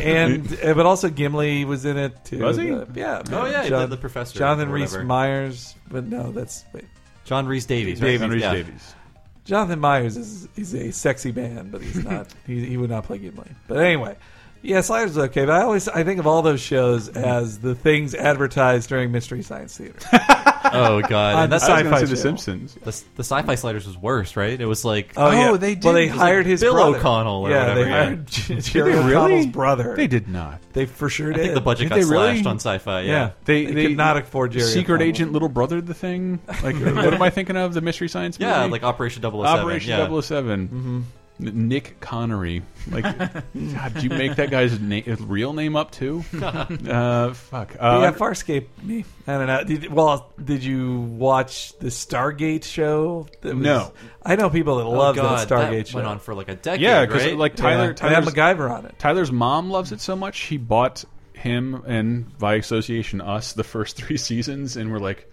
and uh, but also Gimli was in it too. Was he? Uh, yeah. Oh, yeah, the- John- the professor Jonathan or Rhys whatever. Myers. But no, that's wait. John Reese Davies. Right? Davies, Yeah. Davies. Jonathan Myers is is a sexy man, but he's not. he, he would not play Gimli. But anyway, yeah, Sliders is okay. But I always I think of all those shows Mm-hmm. as the things advertised during Mystery Science Theater. Oh god, and Uh, that's I was going Sci-fi to say The channel. Simpsons. the, the sci-fi sliders was worse, right? It was like Oh, yeah. they did. Well, they It was like hired his Bill brother. O'Connell or yeah, whatever, they yeah. hired Jer- Did Jerry they really? O'Connell's brother. They did not. They for sure I did. think the budget Did got they really? slashed on sci-fi. Yeah. yeah, They, they, they could not afford Jerry. Secret O'Connell. Agent, Little Brother, the thing. Like what am I thinking of? The Mystery Science. Movie? Yeah, like Operation 007. Operation yeah. 007. N- Nick Connery. Like, God, did you make that guy's na- his real name up too? uh, fuck. But Uh, yeah, Farscape. Me, I don't know. Did, well, did you watch the Stargate show? That was- No. I know people that Oh, love that god, Stargate that show. went on for like a decade. yeah, because right? like Yeah. Tyler, They had Tyler's MacGyver on it. Tyler's mom loves it so much he bought him and by association us the first three seasons, and we're like,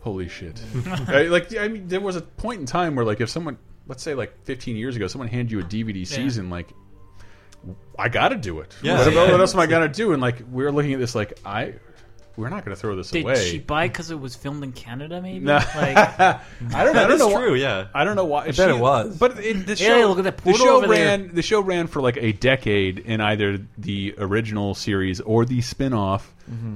holy shit! I- like I mean, there was a point in time where like if someone, let's say like 15 years ago, someone handed you a DVD season, like. I gotta do it. Yeah. what, about- Yeah. what else am I gonna do? And like we're looking at this, like I, we're not gonna throw this did away. she buy because it was filmed in Canada? Maybe No. like I don't. I that don't is know. why- true. yeah. I don't know why. I bet it was. But it, the show, Yeah, look at that the portal show over there. ran. The show ran for like a decade in either the original series or the spin-off. Mm-hmm.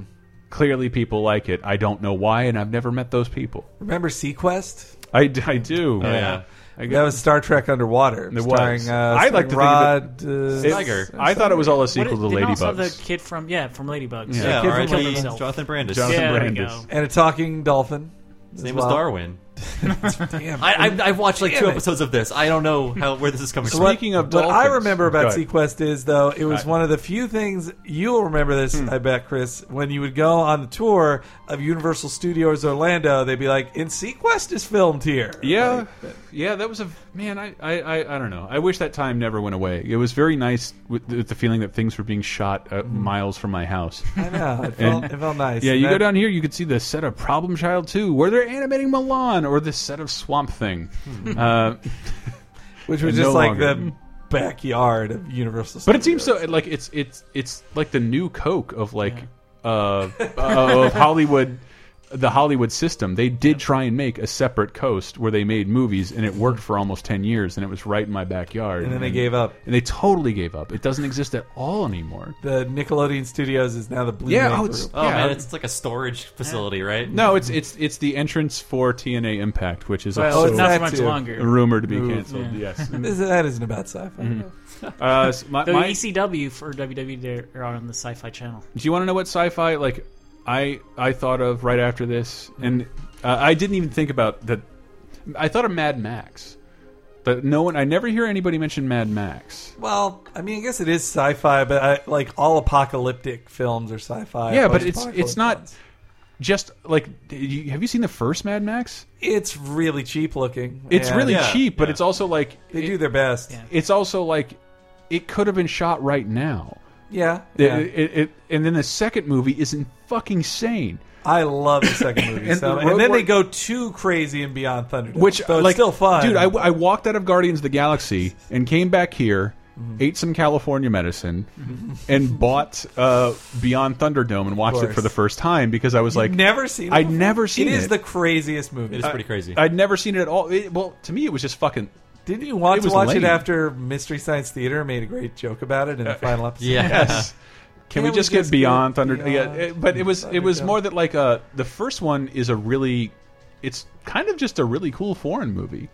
Clearly, people like it. I don't know why, and I've never met those people. Remember Sequest? I, I do. Oh, yeah. I That was Star Trek Underwater. It was. starring, Uh, I like to think of it- Rod, uh, it- Steiger. I thought it was all a what sequel did- to didn't also Ladybugs. the kid from yeah from Ladybugs Yeah, kid He Yeah, from R.I.P. killed Ladybugs. himself. Jonathan Brandis. Jonathan yeah, there we Brandis. go. and a talking dolphin. His name was Darwin. Darwin. Damn. I, I've, I've watched like Damn two it. episodes of this. I don't know how where this is coming So from. what- Speaking of what I dolphins. remember about Go Hmm. ahead. Sequest is though it was Right. one of the few things you'll remember this. I bet, Chris, when you would go on the tour of Universal Studios Orlando, they'd be like, "And Sequest is filmed here." Yeah, Like, yeah, that was a man. I, I, I, I don't know. I wish that time never went away. It was very nice with, with the feeling that things were being shot uh, Mm-hmm. miles from my house. I know. It felt, And- it felt nice. Yeah, And you go that- down here, you could see the set of Problem Child 2, where they're animating Milan, or the set of Swamp Thing. Hmm. uh, which and was no just like longer. the backyard of Universal. Studios. but it seems so like it's it's it's like the new Coke of like uh, uh, of Hollywood the Hollywood system, they did try and make a separate coast where they made movies, and it worked for almost ten years, and it was right in my backyard. And then they gave up. And they totally gave up. It doesn't exist at all anymore. The Nickelodeon Studios is now the Blue Yeah, Man oh, Group. it's- Oh Yeah. man, it's like a storage facility, right? No, it's it's it's the entrance for TNA Impact, which is Well, Oh, also it's not that for much too. longer. rumored to be canceled. Yeah. Yes. This- that isn't about sci-fi. Uh, s- my- The E my- ECW for WWE they're out on the Sci-Fi Channel. do you want to know what sci-fi like I I thought of right after this, and uh, I didn't even think about that. I thought of Mad Max, but no one. I never hear anybody mention Mad Max. Well, I mean, I guess it is sci-fi, but I, like all apocalyptic films are sci-fi. Yeah, but it's- post-apocalyptic it's not- ones. Just like, you, have you seen the first Mad Max? It's really cheap looking. It's and really Yeah, cheap, but yeah. it's also like They it- do their best. Yeah. It's also like it could have been shot right now. Yeah, The- yeah. It, it, and then the second movie is in fucking sane. I love the second movie. And so, the and road then they work- go too crazy and beyond Thunderdome, Which though it's like still fun, dude. I, I walked out of Guardians of the Galaxy and came back here, Mm-hmm. ate some California medicine, and bought uh, Beyond Thunderdome and watched it course. for the first time because I was like, never seen. it I'd before. never seen It is it. Uh, the craziest movie. It is pretty crazy. I'd never seen it at all. It, well, to me, it was just fucking. Didn't you want It to was watch lame. it after Mystery Science Theater made a great joke about it in the final episode? yeah. Yes. Can Can we just get beyond Thunder? yeah, Beyond it- but it was it was Thunderdome? more that like uh the first one is a really it's kind of just a really cool foreign movie,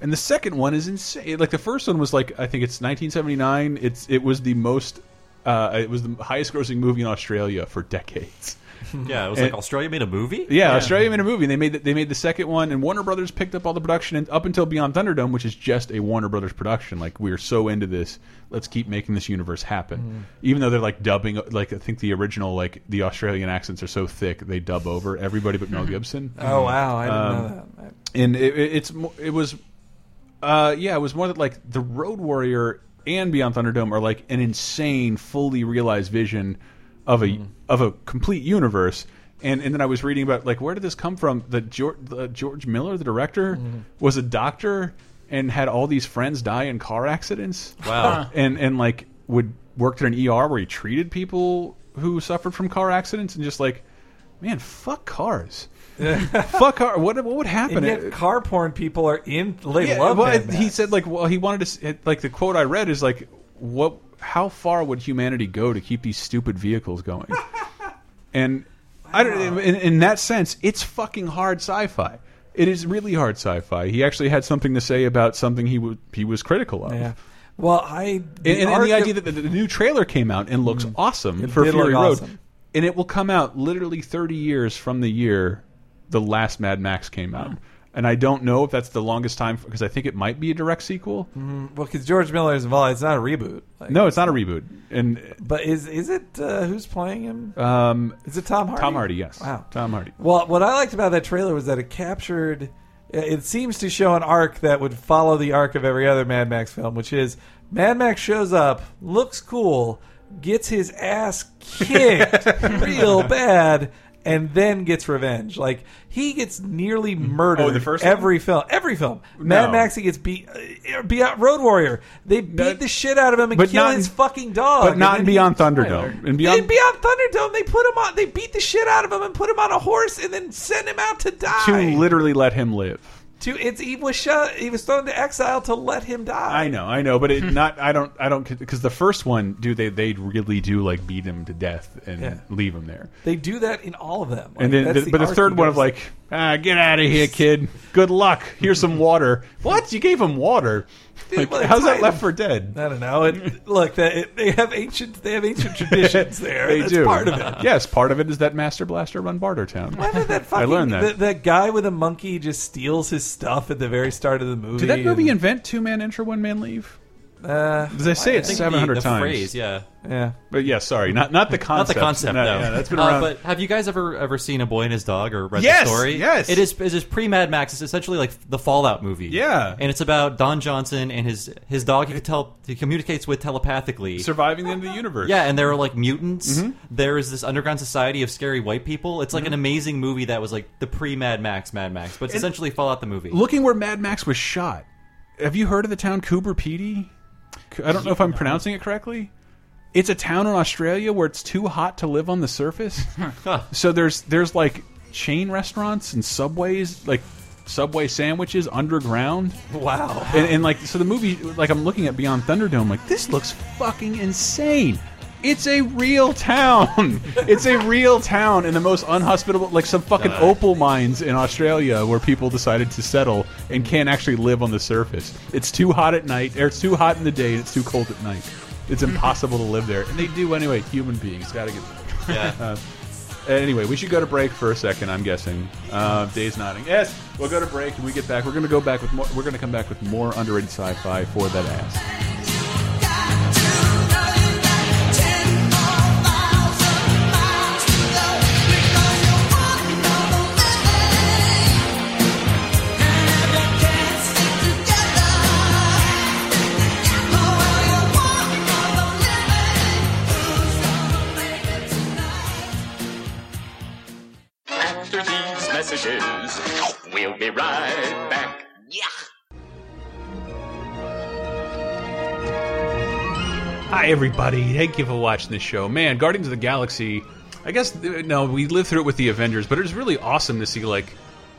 and the second one is insane. Like the first one was like I think it's 1979. It's it was the most uh it was the highest grossing movie in Australia for decades. Yeah, it was It- like Australia made a movie. Yeah, Australia made a movie. And they made the, they made the second one, and Warner Brothers picked up all the production and up until Beyond Thunderdome, which is just a Warner Brothers production. Like we're so into this, let's keep making this universe happen. Even though they're like dubbing, like I think the original like the Australian accents are so thick they dub over everybody but Mel Gibson. Oh wow, I Um, didn't know that. and it, it- it's mo- it was, uh, yeah, it was more that like the Road Warrior and Beyond Thunderdome are like an insane, fully realized vision of a Mm-hmm. of a complete universe. And and then I was reading about like where did this come from? The George, the George Miller, the director, Mm-hmm. was a doctor and had all these friends die in car accidents Wow. and and like would worked at an ER where he treated people who suffered from car accidents and just like, man, fuck cars, fuck car. What what would happen? And yet, car porn people are in. They Yeah, love well, Mad he Max. said like well he wanted to s- it- like the quote I read is like what how far would humanity go to keep these stupid vehicles going? and I don't in, in that sense it's fucking hard sci-fi. It is really hard sci-fi. He actually had something to say about something he would he was critical of. Yeah. Well, I And, and, and the argu- idea that the, the new trailer came out and looks awesome for Mm-hmm. did Fury look Road, awesome. and it will come out literally 30 years from the year the last Mad Max came Mm. out. And I don't know if that's the longest time because I think it might be a direct sequel. well, because George Miller is involved, it's not a reboot. Like, No, it's not a reboot. And but is is it uh, who's playing him? um, Is it Tom Hardy? Tom Hardy, yes, Wow. Tom Hardy. Well, what I liked about that trailer was that it captured. It seems to show an arc that would follow the arc of every other Mad Max film, which is Mad Max shows up, looks cool, gets his ass kicked real bad, and then gets revenge. Like he gets nearly murdered. Oh, the first one? every film, every film. Mad No. Max he gets beat. Uh, beat out Road Warrior. They beat the shit out of him and but kill not- his fucking dog. But and not then in he- Beyond Thunderdome. And Beyond, beyond, Beyond Thunderdome, they put him on. They beat the shit out of him and put him on a horse, and then sent him out to die. to literally let him live. To- it's he was shut. He was thrown to exile to let him die. I know, I know, but it Hmm. not. I don't, I don't, because the first one, do they? They really do like beat him to death and Yeah. leave him there. They do that in all of them. Like, And then, that's the, but the arc third he one of goes- like, ah, get out of here, kid. Good luck. Here's some water. What? You gave him water? Like, well, how's that Titan- Left for Dead? I don't know. It, look, they, they have ancient. They have ancient traditions there. They That's do. part of it. Yes, part of it is that Master Blaster run Barter Town. Why did that I fucking, learned that. That, that guy with a monkey just steals his stuff at the very start of the movie. Did that movie and- invent two man enter, one man leave? uh, Did they say I it think seven the, hundred the times? phrase, yeah. yeah. But yeah, sorry, not not the Not concept. the concept, No, though. Yeah, that's been Uh, around. but have you guys ever ever seen A Boy and His Dog or read Yes, the story? yes. It is it is pre Mad Max. It's essentially like the Fallout movie. Yeah. and it's about Don Johnson and his his dog. He could tell he communicates with telepathically. Surviving the end of the universe. yeah, and there are like mutants. Mm-hmm. There is this underground society of scary white people. It's like an amazing movie that was like the pre Mad Max Mad Max, but it's essentially Fallout the movie. Looking where Mad Max was shot. Have you heard of the town Coober Pedy? I don't know if I'm pronouncing it correctly. It's a town in Australia where it's too hot to live on the surface. so there's there's like chain restaurants and subways, like subway sandwiches underground. Wow. And, and like, so the movie, like, I'm looking at Beyond Thunderdome, like, this looks fucking insane. It's a real town. it's a real town in the most unhospitable, like some fucking opal mines in Australia where people decided to settle and can't actually live on the surface. It's too hot at night, or it's too hot in the day, and it's too cold at night. It's impossible to live there. And they do anyway, human beings. Gotta get. Yeah. Uh, Anyway, we should go to break for a second. I'm guessing. Uh, Dave's nodding. Yes, we'll go to break. When we get back, we're going to go back with more. We're going to come back with more underrated sci-fi for that ass. After these messages, we'll be right back. Hi everybody! Thank you for watching this show. Man, Guardians of the Galaxy. I guess uh, no, we lived through it with the Avengers, but it was really awesome to see like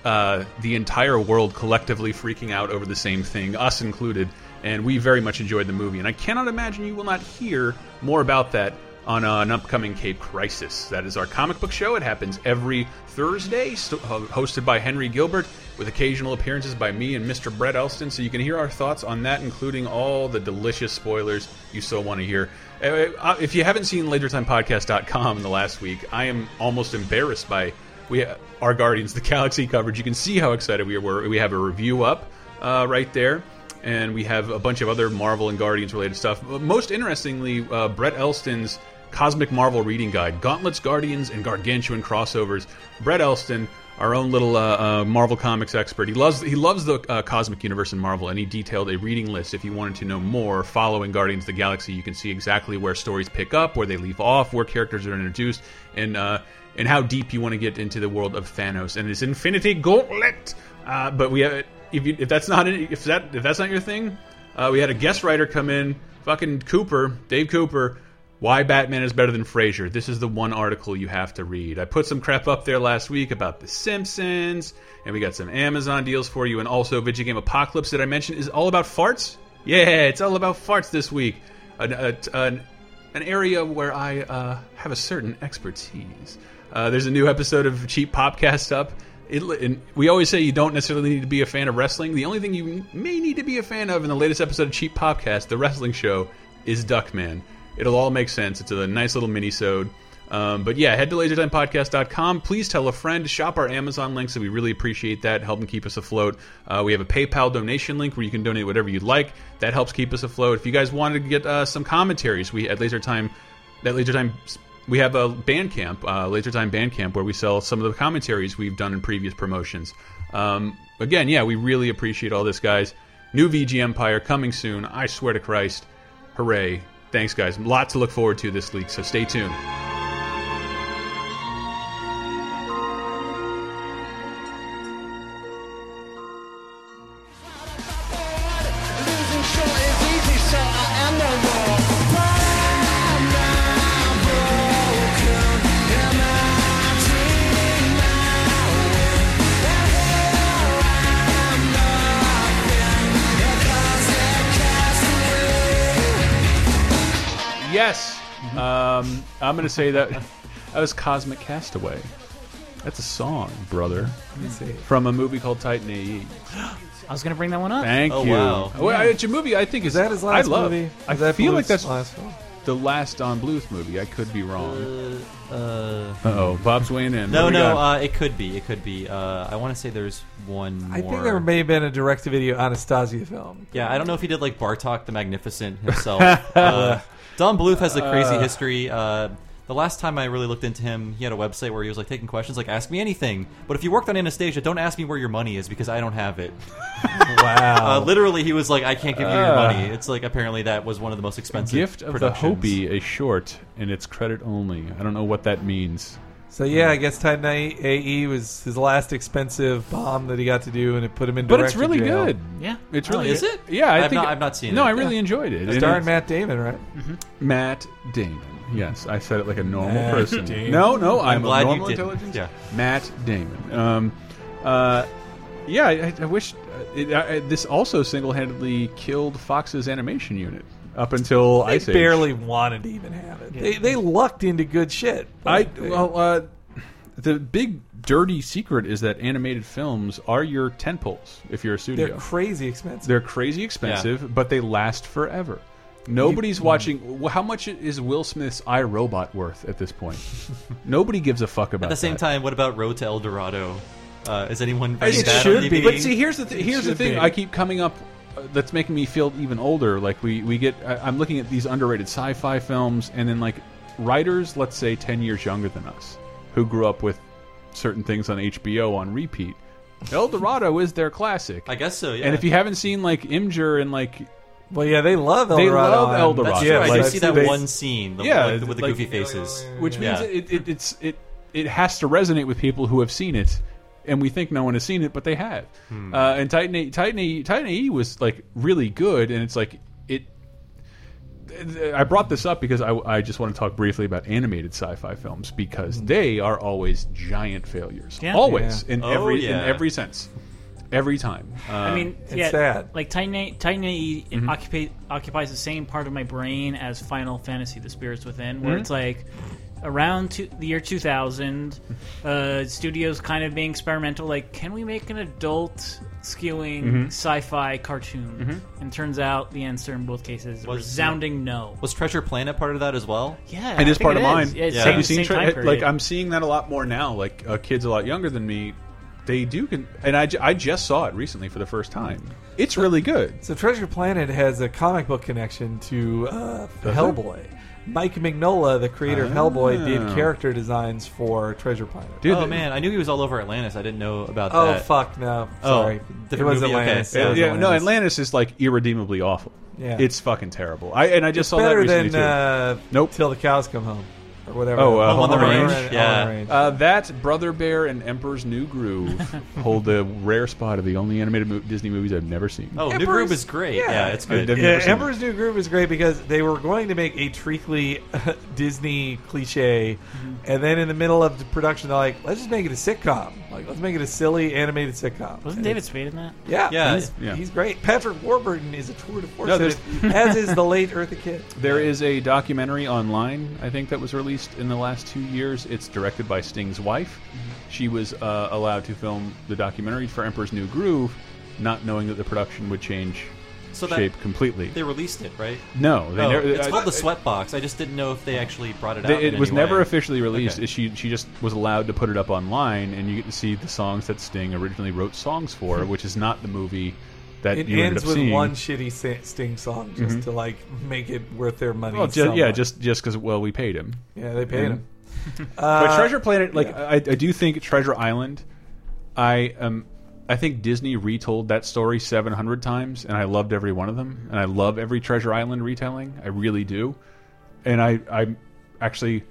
uh, the entire world collectively freaking out over the same thing, us included. And we very much enjoyed the movie. And I cannot imagine you will not hear more about that on uh, an upcoming Cape Crisis. That is our comic book show. It happens every Thursday, st- ho- hosted by Henry Gilbert, with occasional appearances by me and Mr. Brett Elston. So you can hear our thoughts on that, including all the delicious spoilers you so want to hear. Uh, uh, If you haven't seen LaserTimePodcast.com in the last week, I am almost embarrassed by we our Guardians of the Galaxy coverage. You can see how excited we were. We have a review up uh, right there, and we have a bunch of other Marvel and Guardians related stuff. But Most interestingly, uh, Brett Elston's Cosmic Marvel Reading Guide: Gauntlets, Guardians, and Gargantuan Crossovers. Brett Elston. Our own little uh, uh, Marvel Comics expert. He loves he loves the uh, cosmic universe and Marvel, and he detailed a reading list. If you wanted to know more, following Guardians of the Galaxy, you can see exactly where stories pick up, where they leave off, where characters are introduced, and uh, and how deep you want to get into the world of Thanos and his Infinity Gauntlet. Uh, but we have if you, if that's not it- if that if that's not your thing, uh, we had a guest writer come in, fucking Cooper, Dave Cooper. Why Batman is better than Frasier. This is the one article you have to read. I put some crap up there last week about The Simpsons, and we got some Amazon deals for you, and also Video Game Apocalypse that I mentioned is all about farts. Yeah, it's all about farts this week. An, a, an an area where I uh, have a certain expertise. Uh, there's a new episode of Cheap Popcast up. It, and we always say you don't necessarily need to be a fan of wrestling. The only thing you may need to be a fan of in the latest episode of Cheap Popcast, the wrestling show, is Duckman. It'll all make sense. It's a nice little mini-sode. Um, but yeah, head to lasertimepodcast.com. Please tell a friend. Shop our Amazon links. We really appreciate that. Help them keep us afloat. Uh, we have a PayPal donation link where you can donate whatever you'd like. That helps keep us afloat. If you guys wanted to get uh, some commentaries, we at Lasertime, at Lasertime, we have a Bandcamp, uh, Lasertime Bandcamp, where we sell some of the commentaries we've done in previous promotions. Um, again, yeah, we really appreciate all this, guys. New VG Empire coming soon. I swear to Christ. Hooray. Thanks, guys. A lot to look forward to this week, so stay tuned. Yes. Um, I'm going to say that that was Cosmic Castaway. That's a song, brother, from a movie called Titan AE. I was gonna bring that one up. Thank Oh, you. wow. Well, it's a movie I think is, Is that his last I love. movie? I Is that feel like Bluth's that's last film. the last Don Bluth movie. I could be wrong. Uh, Uh oh, Bob's weighing in. no, What do we no, got? uh, it could be. It could be. Uh, I want to say there's one more. I think there may have been a direct-to-video Anastasia film. Yeah, I don't know if he did like Bartok the Magnificent himself. uh, Don Bluth has a crazy history. Uh, the last time I really looked into him, he had a website where he was like taking questions, like "Ask me anything." But if you worked on Anastasia, don't ask me where your money is because I don't have it. Wow. Uh, literally, he was like, "I can't give you your money." It's like apparently that was one of the most expensive Uh. Gift of the productions. Hopi, a short, and it's credit only. I don't know what that means. So yeah, I guess Titan AE was his last expensive bomb that he got to do, and it put him in. But it's director really jail. good. Yeah. It's Oh, really is good. it? Yeah, I I've think not- I've not seen no, it. I really enjoyed it. And Starring it's Matt Damon, right? Matt Damon. Yes, I said it like a normal Matt person. Damon. No, no, I'm, glad a you normal didn't. intelligence. Yeah. Matt Damon. Um, uh, yeah, I, I wish uh, it, I, I- this also single-handedly killed Fox's animation unit up until They Ice Age. barely wanted to even have it. They, they lucked into good shit. I Like, they- well, uh, the big dirty secret is that animated films are your tentpoles if you're a studio. they're crazy expensive. They're crazy expensive, but they last forever. Nobody's watching. well, How much is Will Smith's I Robot worth at this point? Nobody gives a fuck about. At the same that. time, what about Road to El Dorado? Uh, is anyone It writing that should on be. DVD? But see, here's the th here's the should thing. be. I keep coming up. Uh, that's making me feel even older. Like we we get. I, I'm looking at these underrated sci-fi films, and then like writers, let's say ten years younger than us, who grew up with certain things on HBO on repeat. El Dorado is their classic. I guess so. Yeah. And if you haven't seen like Imgur and like well, yeah, they love El They Dorado. love on- El Dorado. That's Yeah, I right, did like, see that they- one scene, the, Yeah, like, the- with the like- goofy faces. which means Yeah. it, it, it's it it has to resonate with people who have seen it and we think no one has seen it but they have Hmm. uh, and titan a, titan a, titan ae was like really good and it's like it I brought this up because I, I just want to talk briefly about animated sci-fi films because they are always giant failures, Yeah. always in Oh, every in Hmm. yeah. every sense, every time. I mean, it's yeah, sad. like Titan A, Titan AE Mm-hmm. occupa- occupies the same part of my brain as Final Fantasy: The Spirits Within, Mm-hmm. where it's like around two, the year 2000, uh, studios kind of being experimental. Like, can we make an adult skewing Mm-hmm. sci-fi cartoon? And turns out the answer in both cases Was- resounding no. Was Treasure Planet part of that as well? Yeah, it I is think part of mine. is. Yeah, it's Yeah. Have same- you seen same tra- time it- like period. I'm seeing that a lot more now? Like uh, kids a lot younger than me, they do. Con- and I, ju- I just saw it recently for the first time. It's really good. So Treasure Planet has a comic book connection to uh, Hellboy. Mike Mignola, the creator of Hellboy, Oh. did character designs for Treasure Planet. Dude, oh the- man, I knew he was all over Atlantis. I didn't know about Oh that. fuck no! Oh, Sorry, it different was movie, okay. Atlantis. Yeah, It Yeah, was yeah, no, Atlantis. Atlantis is like irredeemably awful. Yeah. it's fucking terrible. I and I just saw that better recently than too. uh, Nope. Till the cows come home, or whatever. Oh, uh, Home on the Range? Home Yeah. on the range. Uh, that Brother Bear and Emperor's New Groove hold the rare spot of the only animated mo Disney movies I've never seen. Oh, New Emperor's- Groove is great. Yeah, yeah. it's I good. didn't- yeah, never seen it. Emperor's New Groove is great because they were going to make a treacly Disney cliche, Mm-hmm. and then in the middle of the production, they're like, "Let's just make it a sitcom. Like, let's make it a silly animated sitcom." Wasn't David Spade in that? Yeah, Yeah. he's, Yeah. he's great. Patrick Warburton is a tour de force, No, in there's- it, as is the late Eartha Kitt. There is a documentary online, I think, that was released in the last two years. It's directed by Sting's wife. Mm-hmm. She was uh, allowed to film the documentary for Emperor's New Groove, not knowing that the production would change So that- shape completely. They released it, right? no, they Oh, never. it's I- called the I- Sweatbox. I just didn't know if they actually brought it they- out. it in was any never way. officially released. Okay. She she just was allowed to put it up online, and you get to see the songs that Sting originally wrote songs Hmm. for, which is not the movie that It you ended ends up with seeing. Mm-hmm. one shitty sa- Sting song just to like make it worth their money. well, ju- yeah, somewhat. just just because well, we paid him. yeah, they paid him. But Uh, Treasure Planet, like I, I do think Treasure Island, I um, I think Disney retold that story seven hundred times, and I loved every one of them, and I love every Treasure Island retelling, I really do, and I I actually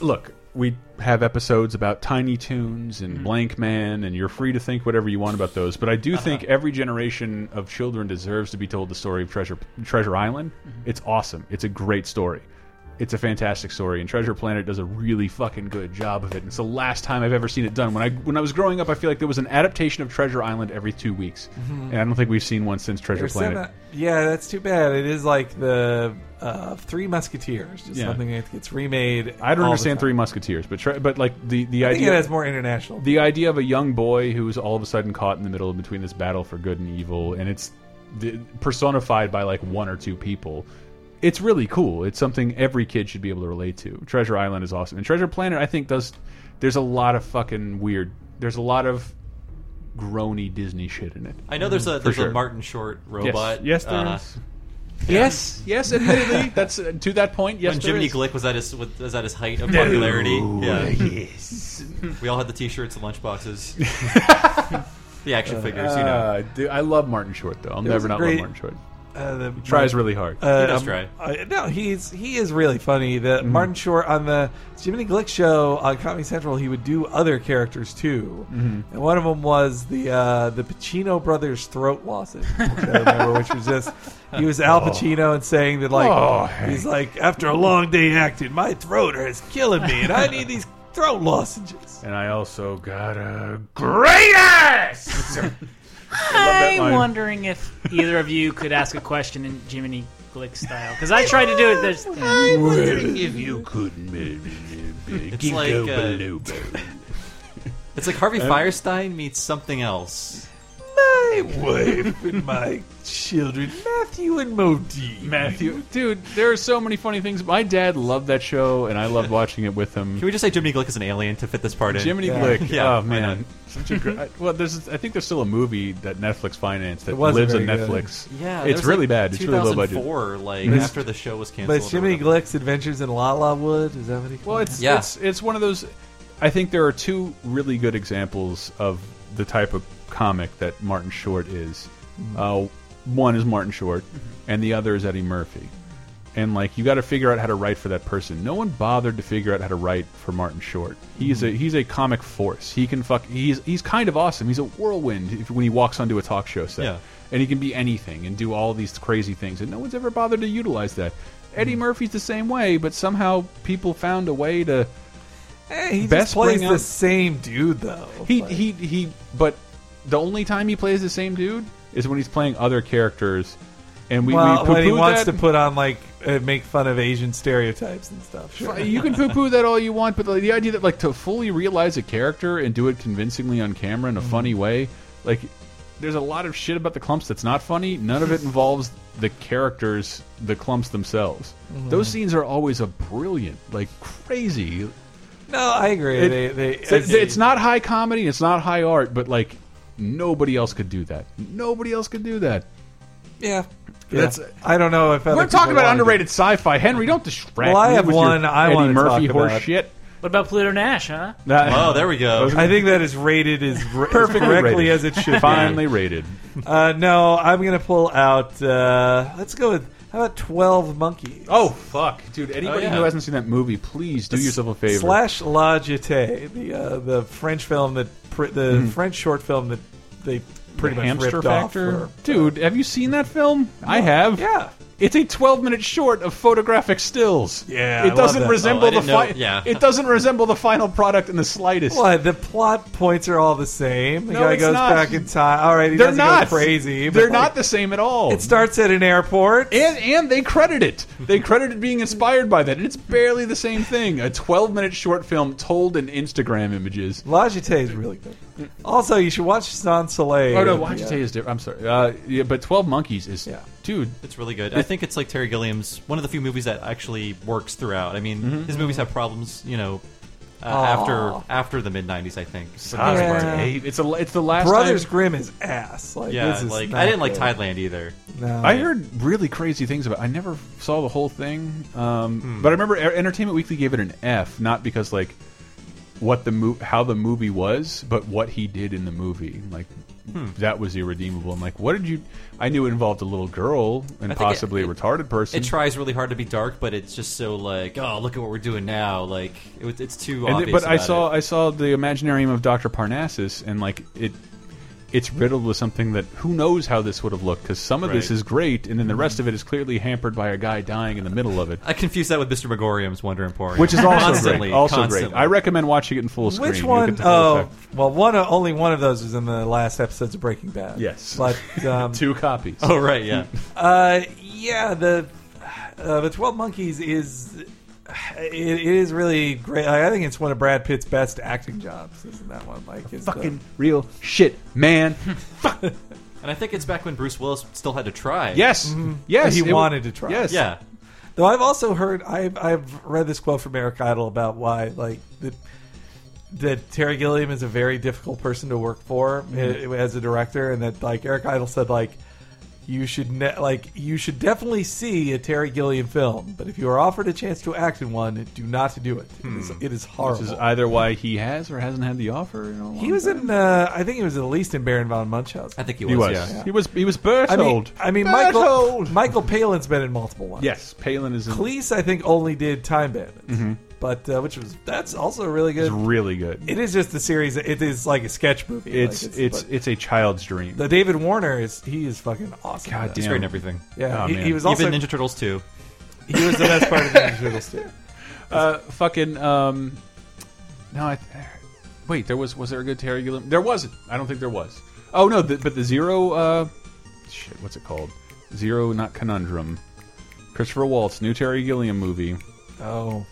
look. We have episodes about Tiny Toons and Blank Man, and you're free to think whatever you want about those. But I do think every generation of children deserves to be told the story of Treasure Treasure Island. It's awesome. It's a great story. It's a fantastic story, and Treasure Planet does a really fucking good job of it. And it's the last time I've ever seen it done. When I when I was growing up, I feel like there was an adaptation of Treasure Island every two weeks, and I don't think we've seen one since Treasure There's some- Planet. yeah, that's too bad. It is like the uh, Three Musketeers, just Yeah. something that gets remade. I don't all the understand time. Three Musketeers, but tre- but like the the I think it idea has more international. the idea of a young boy who is all of a sudden caught in the middle between this battle for good and evil, and it's the, personified by like one or two people. It's really cool. It's something every kid should be able to relate to. Treasure Island is awesome, and Treasure Planet I think does. There's a lot of fucking weird. There's a lot of groany Disney shit in it. I know there's a there's Mm, sure. a Martin Short Yes, robot. yes, there uh, is. Yes, yes. Admittedly, that's uh, to that point. Yes, When there Jiminy is. Glick was at his was was at his height of popularity. yeah. We all had the T-shirts and lunchboxes. the action figures, you know. Uh, dude, I love Martin Short though. I'll was never a not great- love Martin Short. uh, the Tries really hard. Uh, He does um, try. uh, no, he's he is really funny. The Mm. Martin Short on the Jiminy Glick show on Comedy Central, he would do other characters too, Mm-hmm. and one of them was the uh, the Pacino brothers throat lozenge, which I remember, which was just he was Al Pacino and saying that like Oh, he's like after a long day acting, my throat is killing me, and I need these throat lozenges. and I also got a great ass. that I'm line. wondering if either of you could ask a question in Jiminy Glick style because I tried to do it. There's, if you could maybe, maybe It's like, uh, It's like Um, Harvey Firestein meets something else. My wife and my children, Matthew and Modine. Matthew, dude, there are so many funny things. My dad loved that show, and I loved watching it with him. Can we just say Jiminy Glick is an alien to fit this part in? Jiminy Yeah. Glick, Yeah, oh why man, such a great. Well, there's, I think there's still a movie that Netflix financed that It wasn't lives on very good. Netflix. Yeah, it's really bad. It's really low budget. Four, like Mhm. after the show was canceled. But or Jimmy whatever. Glick's Adventures in La La Wood is that what he? Well, called it's Yeah. it's it's one of those. I think there are two really good examples of the type of comic that Martin Short is. Uh, one is Martin Short, and the other is Eddie Murphy. And like you got to figure out how to write for that person. No one bothered to figure out how to write for Martin Short. He's a he's a comic force. He can fuck. He's he's kind of awesome. He's a whirlwind if, when he walks onto a talk show set. Yeah. And he can be anything and do all these crazy things, and no one's ever bothered to utilize that. Eddie Murphy's the same way, but somehow people found a way to Eh, he best just plays bring the up- same dude though. he Like, he he. But the only time he plays the same dude is when he's playing other characters, and we, well, we when he poo-poo wants that. to put on like uh, make fun of Asian stereotypes and stuff. Sure. You can poo-poo that all you want, but like, the idea that like to fully realize a character and do it convincingly on camera Mm-hmm. in a funny way, like there's a lot of shit about the clumps that's not funny. None of it involves the characters, the clumps themselves. Mm-hmm. Those scenes are always a brilliant, like crazy. No, I agree. It- they, they, It's, it's not high comedy, it's not high art, but like nobody else could do that. Nobody else could do that. Yeah. That's- That's. I don't know if other We're talking people about wanted to- underrated sci-fi. Henry, don't distract Well, I me have with your one I Eddie wanna Murphy talk horse about. shit. what about Pluto Nash? Huh? Oh, there we go. I think that is rated as perfectly Perfectly correctly rated. as it should. be. Finally rated. Uh, no, I'm gonna pull out. Uh, let's go with how about Twelve Monkeys? Oh fuck, dude! Anybody yeah. who hasn't seen that movie, please do yourself a favor. Oh, Slash La Jetée, the uh, the French film that pr- the French short film that they Mm-hmm. The pretty much hamster ripped factor, off. For, dude. Have you seen that film? I have. yeah. It's a 12-minute short of photographic stills. Yeah, I it love doesn't that. resemble Oh, I the didn't know- fi- yeah. It doesn't resemble the final product in the slightest. What the plot points are all the same. The No, guy it's goes not. back in time. All right, he They're doesn't not go crazy. They're but, not like, the same at all. it starts at an airport. and and they credit it. They credit it being inspired by that, and it's barely the same thing. A 12-minute short film told in Instagram images. La Jetée is really good. Also, you should watch Sans Soleil. Oh no, Watch Day is different. I'm sorry. Uh, yeah, but 12 Monkeys is, Yeah. dude. It's really good. I think it's like Terry Gilliam's one of the few movies that actually works throughout. I mean, Mm-hmm. his movies have problems, you know, uh, after after the mid '90s. I think. For the most Yeah. part. Yeah. Hey, It's a, it's the last Brothers time- Grimm is ass. Like, Yeah, this is like not I didn't like good. Thailand either. No. I heard really crazy things about. I never saw the whole thing, um, but I remember E- Entertainment Weekly gave it an F, not because like what the mo how the movie was, but what he did in the movie. Like that was irredeemable. I'm like, what did you? I knew it involved a little girl and I think possibly it- a retarded person. It tries really hard to be dark, but it's just so like, oh, look at what we're doing now. Like it, was- it's too And obvious. th- but I about saw it. I saw the Imaginarium of Doctor Parnassus, and like it, it's riddled with something that who knows how this would have looked because some of this Right. is great, and then the rest of it is clearly hampered by a guy dying in the middle of it, I confused that with Mr. Megorium's Wonder Emporium, which is also constantly, great. Also constantly. great. I recommend watching it in full screen. Which You'll one? get the full Oh, effect. well, one only one of those was in the last episodes of Breaking Bad. Yes. but um, two copies. Oh right, yeah. uh, yeah, the uh, the Twelve Monkeys is it, it is really great. I think it's one of Brad Pitt's best acting jobs. Isn't that one like is the- Fucking real shit, man. And I think it's back when Bruce Willis still had to try. yes, yes. Mm-hmm. He it wa- wanted to try. Yes, Yeah. Though I've also heard I've I've read this quote from Eric Idle about why like that that Terry Gilliam is a very difficult person to work for eh, as a director, and that like Eric Idle said like you should ne- like you should definitely see a Terry Gilliam film, but if you are offered a chance to act in one, do not do it. It is, it is horrible. This is either why he has or hasn't had the offer. In a long he was time. in, uh, I think he was at least in Baron von Munchausen. I think he was. He was. Yeah. He was. He was Berthold. I mean, I mean Michael Michael Palin's been in multiple ones. Yes, Mm-hmm. Palin is in, Cleese, I think, only did Time Bandits, but uh, which was that's also really is good. really good. it is just a series. It is like a sketch movie. Like, It's it's but it's a child's dream. the David Warner is he is fucking awesome. God He's damn. great in everything. Yeah, Oh, he, man. he was also Even Ninja Turtles 2. he was the best part of the Ninja Turtles too. Uh, fucking um, no, I, wait. There was was there a good Terry Gilliam? There wasn't. I don't think there was. Oh no, the, but the zero. Uh, shit, what's it called? Zero, not conundrum. Christopher Waltz, new Terry Gilliam movie. Oh,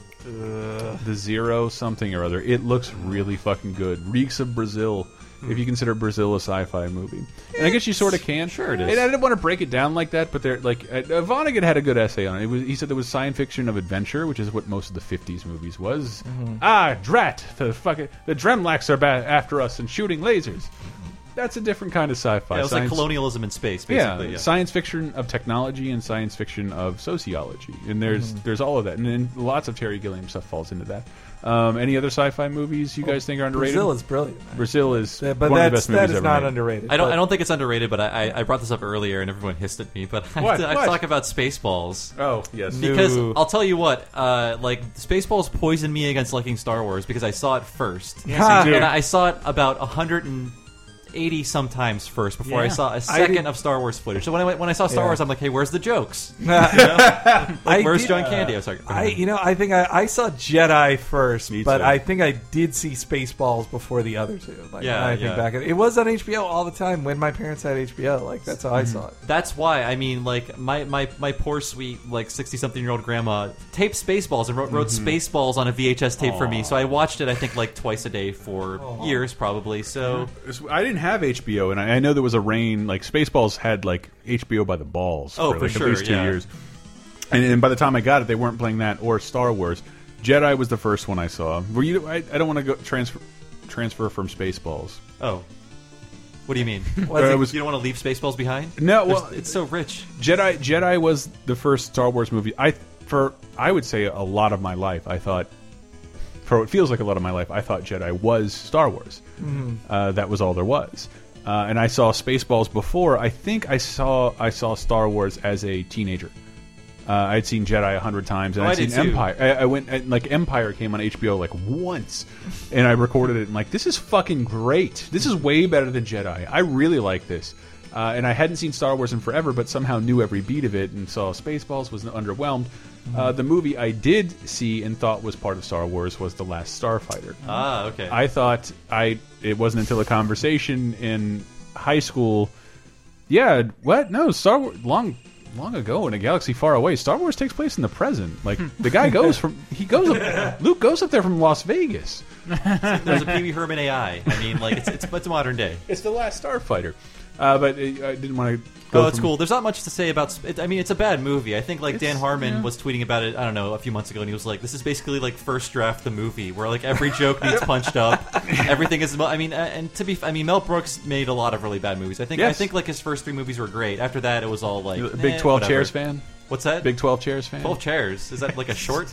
The zero something or other. It looks really fucking good. Reeks of Brazil. If Hmm. you consider Brazil a sci-fi movie, and I guess you sort of can. Sure it is. And I didn't want to break it down like that, but there, like uh, Vonnegut had a good essay on it. it was, he said there was science fiction of adventure, which is what most of the '50s movies was. Mm-hmm. Ah, drat! The fucking the Dremlaks are ba- after us and shooting lasers. That's a different kind of sci-fi. Yeah, it was like Science- colonialism in space, yeah, basically. Yeah. science fiction of technology and science fiction of sociology, and there's Mm-hmm. there's all of that, and then lots of Terry Gilliam stuff falls into that. Um, any other sci-fi movies you guys think are underrated? Brazil is brilliant, man. Brazil is Yeah, but one of the that's best that movies is ever not made. underrated. I don't. but- I don't think it's underrated, but I, I, I brought this up earlier and everyone hissed at me. But I, What? I What? talk about Spaceballs. Oh yes, Because No. I'll tell you what, uh, like Spaceballs poisoned me against liking Star Wars because I saw it first, Ha! and I saw it about hundred and eighty sometimes first before I Yeah. saw a did- second of Star Wars footage. So when I went- when I saw Star Yeah. Wars, I'm like, hey, where's the jokes? I Where's did- uh, John Candy? I'm sorry. I you know I think I, I saw Jedi first, Me but too. I think I did see Spaceballs before the other two. Like, Yeah, when I think yeah. back, at, it was on HBO all the time when my parents had HBO. Like that's Mm-hmm. how I saw it. That's why I mean, like my my, my poor sweet like sixty something year old grandma taped Spaceballs and wrote, wrote Mm-hmm. Spaceballs on a VHS tape for me. So I watched it, I think, like twice a day for years, probably. So I didn't have HBO, and I, I know there was a rain. Like Spaceballs had like HBO by the balls Oh, for, for like, sure, at least two yeah. years. And, and by the time I got it, they weren't playing that or Star Wars. Jedi was the first one I saw. Were you? I, I don't want to go transfer transfer from Spaceballs. oh, what do you mean? Was Uh, it- it was- you don't want to leave Spaceballs behind? No, There's- well, it's so rich. Jedi Jedi was the first Star Wars movie I for I would say a lot of my life I thought for what feels like a lot of my life I thought Jedi was Star Wars. Mm-hmm. Uh, that was all there was. Uh, and I saw Spaceballs before. I think I saw I saw Star Wars as a teenager. Uh, I'd seen Jedi a hundred times, and Oh, I I'd seen did too. Empire. I, I went and, like Empire came on HBO like once, and I recorded it and like this is fucking great. This is way better than Jedi. I really like this. Uh, and I hadn't seen Star Wars in forever, but somehow knew every beat of it and saw Spaceballs was underwhelmed. Uh, the movie I did see and thought was part of Star Wars was The Last Starfighter. Ah, okay. I thought I it wasn't until a conversation in high school. Yeah, what? No, Star Wars long long ago in a galaxy far away. Star Wars takes place in the present. Like the guy goes from he goes up, Luke goes up there from Las Vegas. There's a Pee Wee Herman AI. I mean, like it's it's, it's modern day. It's the last Starfighter. Uh, but it, I didn't want to. go Oh, it's from- cool. There's not much to say about. Sp- It, I mean, it's a bad movie. I think like Dan Harmon was tweeting about it. I don't know a few months ago, and he was like, "This is basically like first draft the movie, where like every joke needs punched up. Everything is. mo- I mean, uh, and to be, f- I mean, Mel Brooks made a lot of really bad movies. I think. I Yes. think like his first three movies were great. After that, it was all like You a eh, Big Twelve whatever. Chairs fan. What's that? Big Twelve Chairs fan. Twelve Chairs. Is that like a short?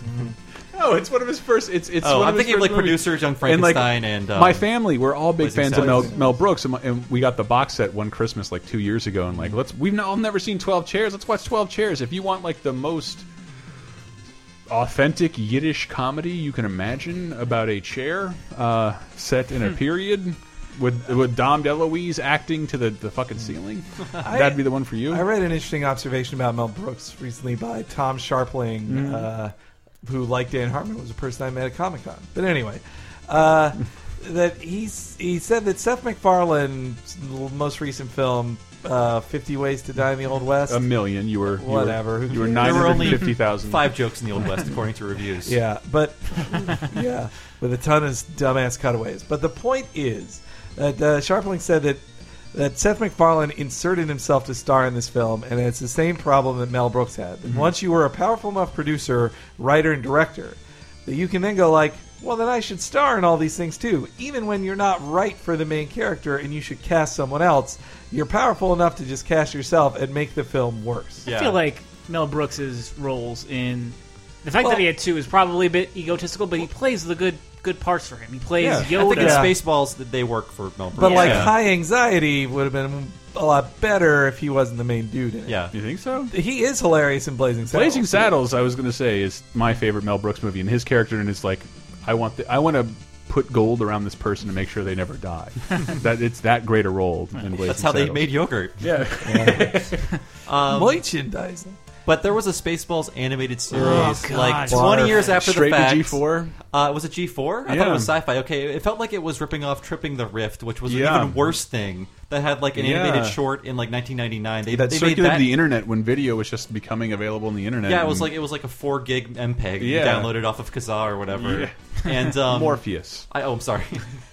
No, it's one of his first. It's it's. Oh, one I'm of his thinking of, first like, movies. producer Young Frankenstein and, um, my family. We're all big Blazing fans of Mel, Saddles. Mel Brooks, and, my, and we got the box set one Christmas like two years ago, and like let's we've not, all never seen Twelve Chairs. Let's watch Twelve Chairs. If you want like the most authentic Yiddish comedy you can imagine about a chair uh, set Hmm. in a period. With, with Dom DeLuise acting to the, the fucking ceiling, that'd be the one for you. I read an interesting observation about Mel Brooks recently by Tom Sharpling, Mm-hmm. uh, who, like Dan Harmon, was a person I met at Comic Con. But anyway, uh, that he's he said that Seth MacFarlane's l- most recent film, uh, Fifty Ways to Die in the Old West, a million. You were you were- Whatever, who You were cares? nine There were hundred only fifty thousand. Five jokes in the Old West, according to reviews. Yeah, but yeah, with a ton of dumbass cutaways. But the point is that uh, Sharpling said that that Seth MacFarlane inserted himself to star in this film, and it's the same problem that Mel Brooks had. Once you were a powerful enough producer, writer, and director, that you can then go like, well, then I should star in all these things too. Even when you're not right for the main character and you should cast someone else, you're powerful enough to just cast yourself and make the film worse. Yeah. I feel like Mel Brooks's roles in the fact Well- that he had two is probably a bit egotistical, but he plays the good good parts for him. He plays Yeah. I I Yoda. think in Yeah. Spaceballs that they work for Mel Brooks. But like yeah. high anxiety would have been a lot better if he wasn't the main dude. In it. yeah. You think so? he is hilarious in Blazing Saddles. Blazing Saddles, I was going to say, is my favorite Mel Brooks movie, and his character and it's like, I want the, I want to put gold around this person to make sure they never die. that it's that great a role. In Blazing That's how they Saddles. made yogurt. Yeah, Um, merchandising. But there was a Spaceballs animated series, God. like Barf. twenty years after Oh, straight the to fact. G four. Uh, was it G four? I thought Yeah. it was sci-fi. Okay, it felt like it was ripping off "Tripping the Rift," which was Yeah. an even worse thing that had like an Yeah. animated short in like 1999. They, That they made circulated that. the internet when video was just becoming available on the internet. yeah, it and was like it was like a four gig MPEG Yeah. downloaded off of Kazaa or whatever. Yeah. And um, Morpheus. I, oh, I'm sorry.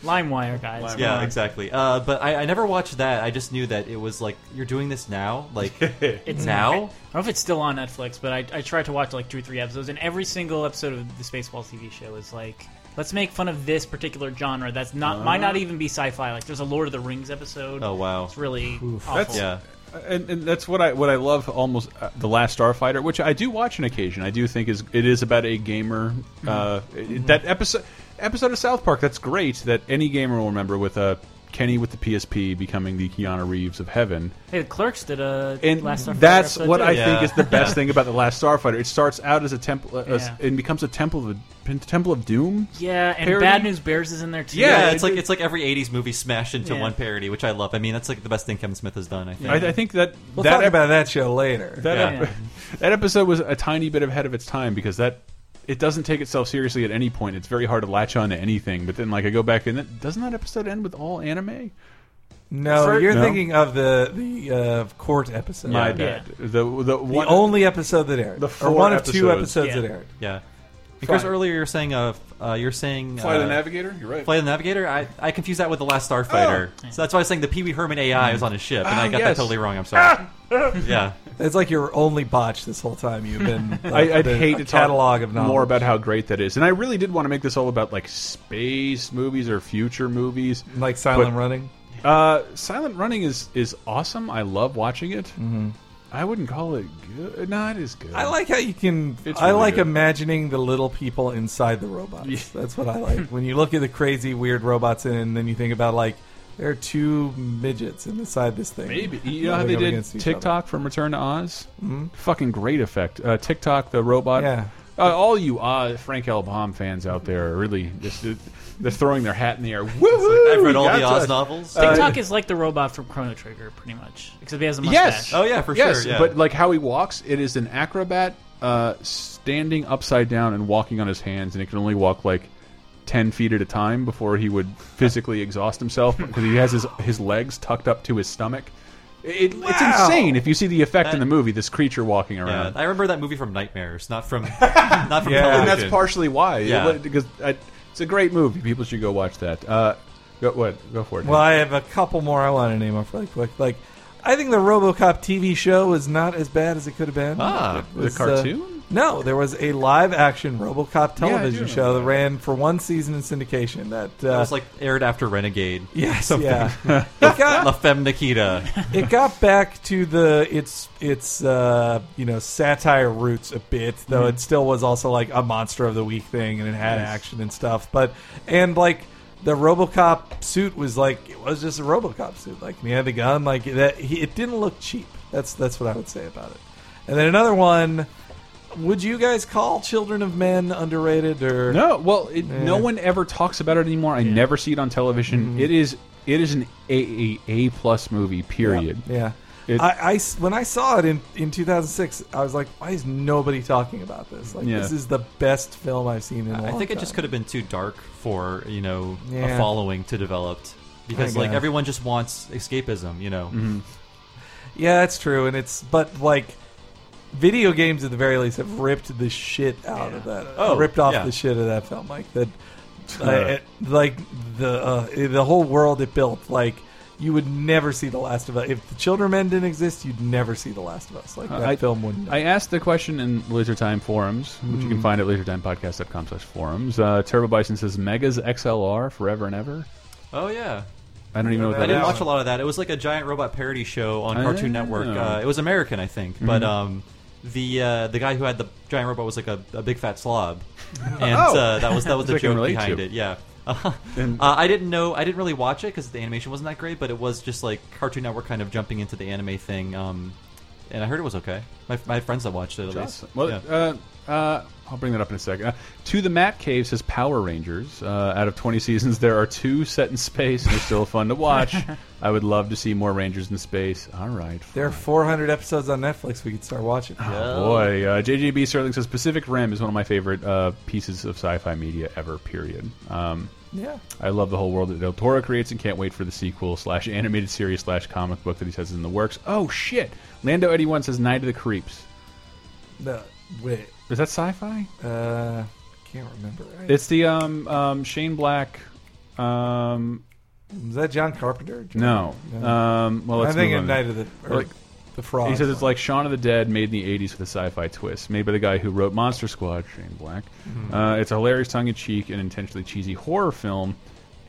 LimeWire guys. come yeah, on. exactly. Uh, but I, I never watched that. I just knew that it was like you're doing this now, like now. I don't know if it's still on Netflix, but I, I tried to watch like two or three episodes, and every single episode of the Spaceballs TV show is like, let's make fun of this particular genre. That's not might not even be sci-fi. Like, there's a Lord of the Rings episode. Oh wow. it's really awful. That's- Yeah. and, and that's what I what I love almost uh, the Last Starfighter, which I do watch on occasion. I do think is it is about a gamer. Mm-hmm. Uh, it- That episode episode of South Park that's great that any gamer will remember with a. Kenny with the PSP becoming the Keanu Reeves of heaven, Hey, the Clerks did a and last. Starfighter that's episode, what too. I Yeah. think is the best thing about the Last Starfighter. It starts out as a temple, uh, as- Yeah. and becomes a temple of temple of doom. Yeah, and Parody. Bad News Bears is in there too. Yeah, Yeah, it it's like did- it's like every '80s movie smashed into Yeah. one parody, which I love. I mean, that's like the best thing Kevin Smith has done. I think. I, I think that We'll that talk about that show later. That, Yeah. ep- that episode was a tiny bit ahead of its time because that it doesn't take itself seriously at any point. It's very hard to latch on to anything. But then, like, I go back and then, doesn't that episode end with all anime? no, For- you're No. thinking of the the uh, court episode. My the bad. The the one only episode that aired, The or four one of two episodes. episodes Yeah. that aired. Yeah. Because Fly. earlier you were saying uh, f- uh you're saying Fly uh, the Navigator. You're right. Fly the Navigator. I I confused that with the Last Starfighter. So that's why I was saying the Pee Wee Herman AI is on his ship, and Oh, I got yes. that totally wrong. I'm sorry. yeah. It's like your only botch this whole time. You've been. I, I'd the- hate to a catalog talk of novels. more about how great that is, and I really did want to make this all about like space movies or future movies. like Silent but- Running. Uh, Silent Running is is awesome. I love watching it. I wouldn't call it good. No, it is good. Mm-hmm. I like how you can. It's I really like good. imagining the little people inside the robots. That's what I like. when you look at the crazy, weird robots, in, and then you think about like there are two midgets inside this thing. Maybe you know rubbing how they up did against each other. Mm-hmm. TikTok from Return to Oz. Fucking great effect. Uh, TikTok, the robot. Yeah. Uh, all you uh, Frank L. Baum fans out there are really just uh, they're throwing their hat in the air. Woohoo! I've read all the Gotcha! Uh, Oz novels. TikTok is like the robot from Chrono Trigger, pretty much, except he has a mustache. Yes. Oh, yeah, for yes, sure, yeah. But like how he walks, it is an acrobat uh, standing upside down and walking on his hands, and he can only walk like ten feet at a time before he would physically exhaust himself because he has his his legs tucked up to his stomach. It, It's insane if you see the effect in the movie. This creature walking yeah. around. I remember that movie from Nightmares, not from not from television. and that's partially why. Yeah. It- because I, it's a great movie. People should go watch that. Uh, go, what? Go for it. Well, I have a couple more I want to name off really quick. Like, I think the RoboCop TV show was not as bad as it could have been. Ah, It the was, uh, cartoon? no, there was a live-action RoboCop do television show remember that ran for one season in syndication. That uh, It was like aired after Renegade. yes, something. yeah. it, La got, Femme Nikita. it got back to the its its uh, you know satire roots a bit, though it still was also like a monster of the week thing, and it had action and stuff. But and like the RoboCop suit was like it was just a RoboCop suit, like and he had the gun, like that. He, it didn't look cheap. That's that's what I would say about it. And then another one. Would you guys call Children of Men underrated or No, well, it, no one ever talks about it anymore. I never see it on television. It is it is an A A A plus movie. Period. Mm-hmm. Yeah. It- I, I s- when I saw it in, in 2006, I was like, why is nobody talking about this? Like, Yeah. this is the best film I've seen in a I long think it time. just could have been too dark for you know Yeah. a following to develop because I like guess. Mm-hmm. everyone just wants escapism. You know. Yeah, that's true. And it's, but like, video games at the very least have ripped the shit out of that. Oh, ripped off yeah. the shit of that film. Like, that, Uh. I- it- like, the, uh, the whole world it built, like, you would never see The Last of Us. If The Children Men didn't exist, you'd never see The Last of Us. Like that Uh, I- film wouldn't. Mm-hmm. I asked the question in Laser Time forums, which you can find at lasertimepodcast.com slash forums. Uh, Turbo Bison says Megas XLR forever and ever. Oh yeah. I don't even know what I that didn't is. watch a lot of that. It was like a giant robot parody show on I Cartoon don't Network. know. Uh, it was American, I think, but Mm-hmm. um, the uh, the guy who had the giant robot was like a, a big fat slob, and uh, that was that was the Which I Oh. can joke relate behind to. it. Yeah. Uh, And- I didn't know. I didn't really watch it because the animation wasn't that great, but it was just like Cartoon Network kind of jumping into the anime thing. Um, and I heard it was okay. My, my friends that watched it at least. Well, Yeah. uh, uh, I'll bring that up in a second. Uh, to the Matt Cave says Power Rangers. Uh, out of 20 seasons, there are two set in space and are still fun to watch. I would love to see more Rangers in space. All right. there are fine. 400 episodes on Netflix we could start watching. Oh, boy. Uh, JJB Sterling says Pacific Rim is one of my favorite uh, pieces of sci fi media ever, period. Um, Yeah. I love the whole world that Del Toro creates and can't wait for the sequel slash animated series slash comic book that he says is in the works. Oh, shit. Lando81 says Night of the Creeps. No, wait. Is that sci fi? Uh, can't remember. It's the um, um, Shane Black. Um, Is that John Carpenter? John- no. Um, well, I'm let's move thinking on. Night of the or Like- the Frog. He says it's like Shaun of the Dead made in the 80s with a sci fi twist, made by the guy who wrote Monster Squad, Shane Black. Uh, it's a hilarious tongue in cheek and intentionally cheesy horror film.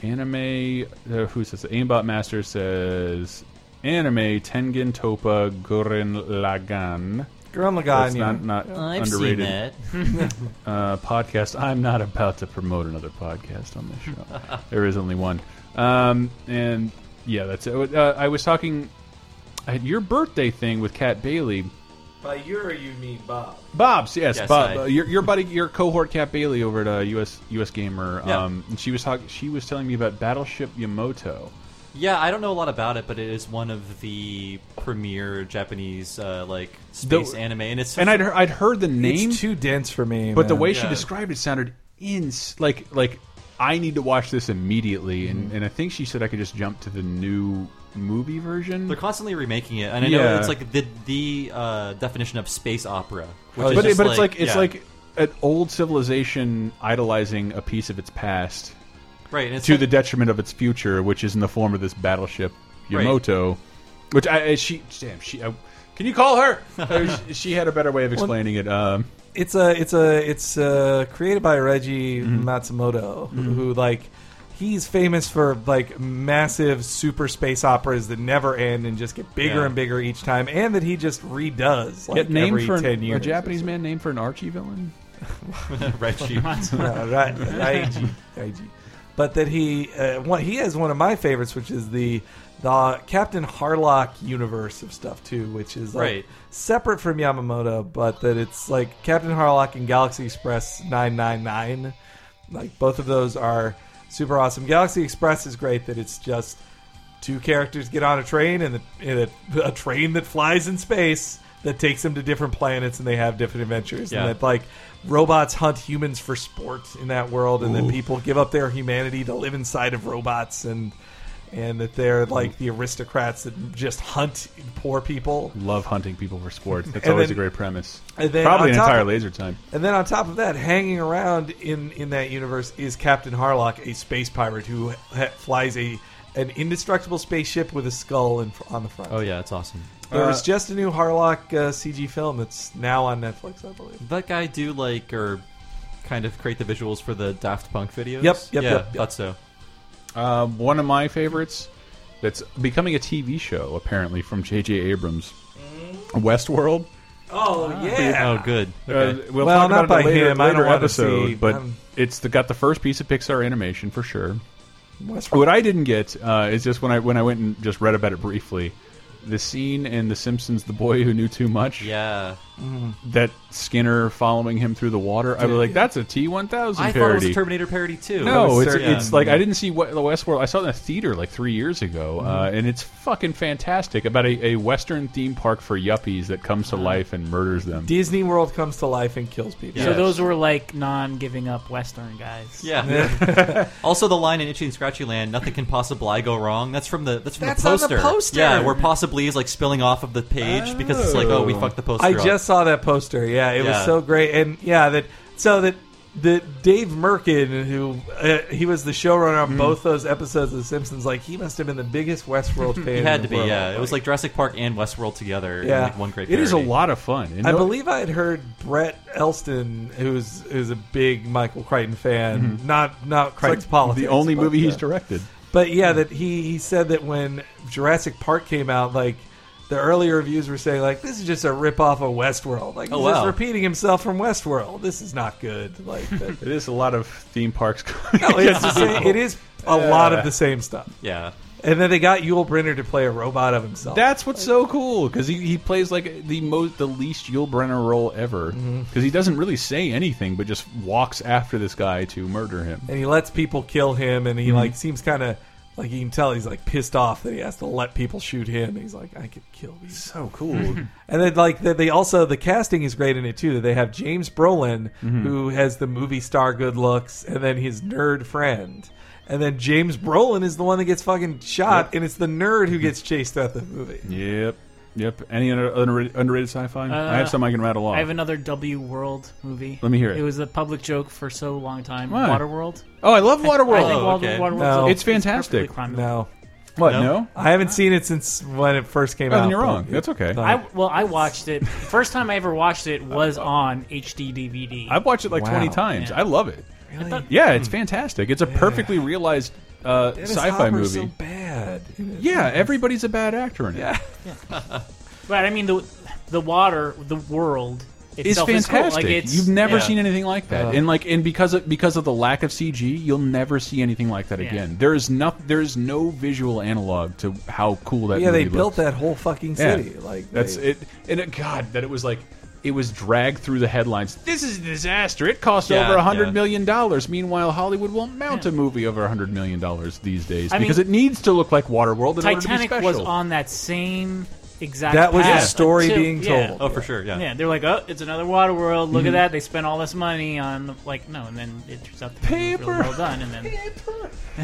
Anime, uh, who says Aimbot Master says anime Tengen Topa Gurren Lagann. Gurren That's Lagann. yeah. not, not underrated uh, podcast. I'm not about to promote another podcast on this show. there is only one. Um, and yeah, that's it. Uh, I was talking at your birthday thing with Cat Bailey. By your, you mean Bob. Bob's, yes, Yes, Bob, I- uh, your, your buddy, your cohort, Cat Bailey over at uh, US US Gamer. Yeah. Um, and she was talking. She was telling me about Battleship Yamato. Yeah, I don't know a lot about it, but it is one of the premier Japanese uh, like The- space anime, and it's And I'd he- I'd heard the name, It's too dense for me. but the man. way she Yeah. described it sounded ins like like I need to watch this immediately. Mm-hmm. And and I think she said I could just jump to the new movie version. They're constantly remaking it, and I Yeah. know it's like the the uh, definition of space opera. Which Oh, is but it, just but it's like it's yeah. like an old civilization idolizing a piece of its past right and it's to like- the detriment of its future, which is in the form of this battleship Right. Yamato, which I I- she damn she. I, can you call her? Uh, she- she had a better way of explaining it. Um, it's a it's a it's uh created by Reggie Mm-hmm. Matsumoto, who, who like he's famous for like massive super space operas that never end and just get bigger Yeah. and bigger each time, and that he just redoes like get named every for an- ten years. a Japanese man named for an Archie villain. red sheep. Yeah, right, Raiji, Raiji. But that he uh, one, he has one of my favorites, which is the the Captain Harlock universe of stuff too, which is like Right. separate from Yamamoto, but that it's like Captain Harlock and Galaxy Express nine nine nine. Like both of those are super awesome. Galaxy Express is great that it's just two characters get on a train and, the, and a, a train that flies in space that takes them to different planets and they have different adventures Yeah. and that like robots hunt humans for sport in that world and then people give up their humanity to live inside of robots and and that they're like the aristocrats that just hunt poor people Love hunting people for sports. That's And always then- a great premise. and then Probably an on top entire of- laser time. and then on top of that, hanging around in in that universe is Captain Harlock, a space pirate who ha- flies a an indestructible spaceship with a skull in, fr- on the front. Oh yeah, it's awesome. There was just a new Harlock uh, CG film that's now on Netflix, I believe. That guy do like or kind of create the visuals for the Daft Punk videos. Yep, yep, yeah, yep, yep. thought so. Uh, one of my favorites that's becoming a TV show apparently from J.J. Abrams, Westworld. Oh yeah, Oh, good. Okay. Mm. Uh, we'll Well, talk not about it by in a later, him. I don't later wanna episode, see- but um, it's the, got the first piece of Pixar animation for sure. Westworld. What I didn't get uh, is just when I when I went and just read about it briefly, the scene in The Simpsons, "The Boy Who Knew Too Much," yeah, that Skinner following him through the water. I was like, "That's a T one I thousand thought it was a parody." Terminator parody too. no, was it's, certain- it's like I didn't see what the Westworld. I saw it in a theater like three years ago, Mm-hmm. uh, and it's fucking fantastic about a, a Western theme park for yuppies that comes to life and murders them. Disney World comes to life and kills people. So Yes. those were like non-giving up Western guys. Yeah. also, the line in Itchy and Scratchy Land, "Nothing can possibly go wrong." That's from the that's from That's the on the poster. poster! Yeah, where possibly is like spilling off of the page because it's like, oh, we fucked the poster. I up. just saw that poster. Yeah, it was Yeah. so great, and yeah, that so that the Dave Merkin, who uh, he was the showrunner Mm-hmm. on both those episodes of The Simpsons, like he must have been the biggest Westworld fan. It in had to the be, world. yeah. It was like Jurassic Park and Westworld together. in, Yeah. like one great. It is a parody. lot of fun. And I no- believe I had heard Brett Elston, who's who's a big Michael Crichton fan, not not Crichton's politics. Mm-hmm. the only but, movie yeah. he's directed. But yeah, that he he said that when Jurassic Park came out, like the earlier reviews were saying, like this is just a rip off of Westworld. Like he's Oh, just wow. repeating himself from Westworld. This is not good. Like that, It is a lot of theme parks. going no, it's against the each same, it is a lot of the same stuff. Yeah. And then they got Yul Brynner to play a robot of himself. That's what's so cool because he, he plays like the most the least Yul Brenner role ever because Mm-hmm. he doesn't really say anything but just walks after this guy to murder him. and he lets people kill him, and he Mm-hmm. like seems kind of like you can tell he's like pissed off that he has to let people shoot him. He's like, I could kill these. So cool. And then like they, they also the casting is great in it too. That they have James Brolin Mm-hmm. who has the movie star good looks, and then his nerd friend. And then James Brolin is the one that gets fucking shot, and it's the nerd who gets chased throughout the movie. yep, yep. Any under, underrated, underrated sci-fi? I have some I can rattle off. Uh, I have another W World movie. Let me hear it. It was a public joke for so long time. Why? Waterworld. oh, I love Waterworld. I think Oh, Water- okay. Waterworld's No. a- It's fantastic. perfectly crime- No, what? No? No. I haven't seen it since when it first came Oh, out. then you're but wrong. it- That's okay. No. I well, I watched it. First time I ever watched it was on HD DVD. I've watched it like Wow. 20 times. Yeah. I love it. Really? Yeah, it's fantastic. It's a perfectly realized uh, Dennis sci-fi Hopper's movie. So bad. yeah, everybody's a bad actor in it. but I mean the the water, the world It's itself fantastic. is cool. Like it's You've never yeah. seen anything like that, and like and because of because of the lack of CG, you'll never see anything like that Yeah. again. There is no there is no visual analog to how cool that. yeah, they movie built looks. that whole fucking Yeah. city. Like that's they- it. And it, God, that it was like it was dragged through the headlines. This is a disaster. It cost Yeah, over a hundred yeah. million dollars. Meanwhile, Hollywood will mount a movie over a hundred million dollars these days I mean, because it needs to look like Waterworld in order to be Titanic special. was on that same exact. That was the path story until- being yeah. told. Mm-hmm. Oh, for sure. Yeah. Yeah, they're like, oh, it's another Water World. Look at that. They spent all this money on the, like no, and then it turns out the movie was really Paper. well done, and then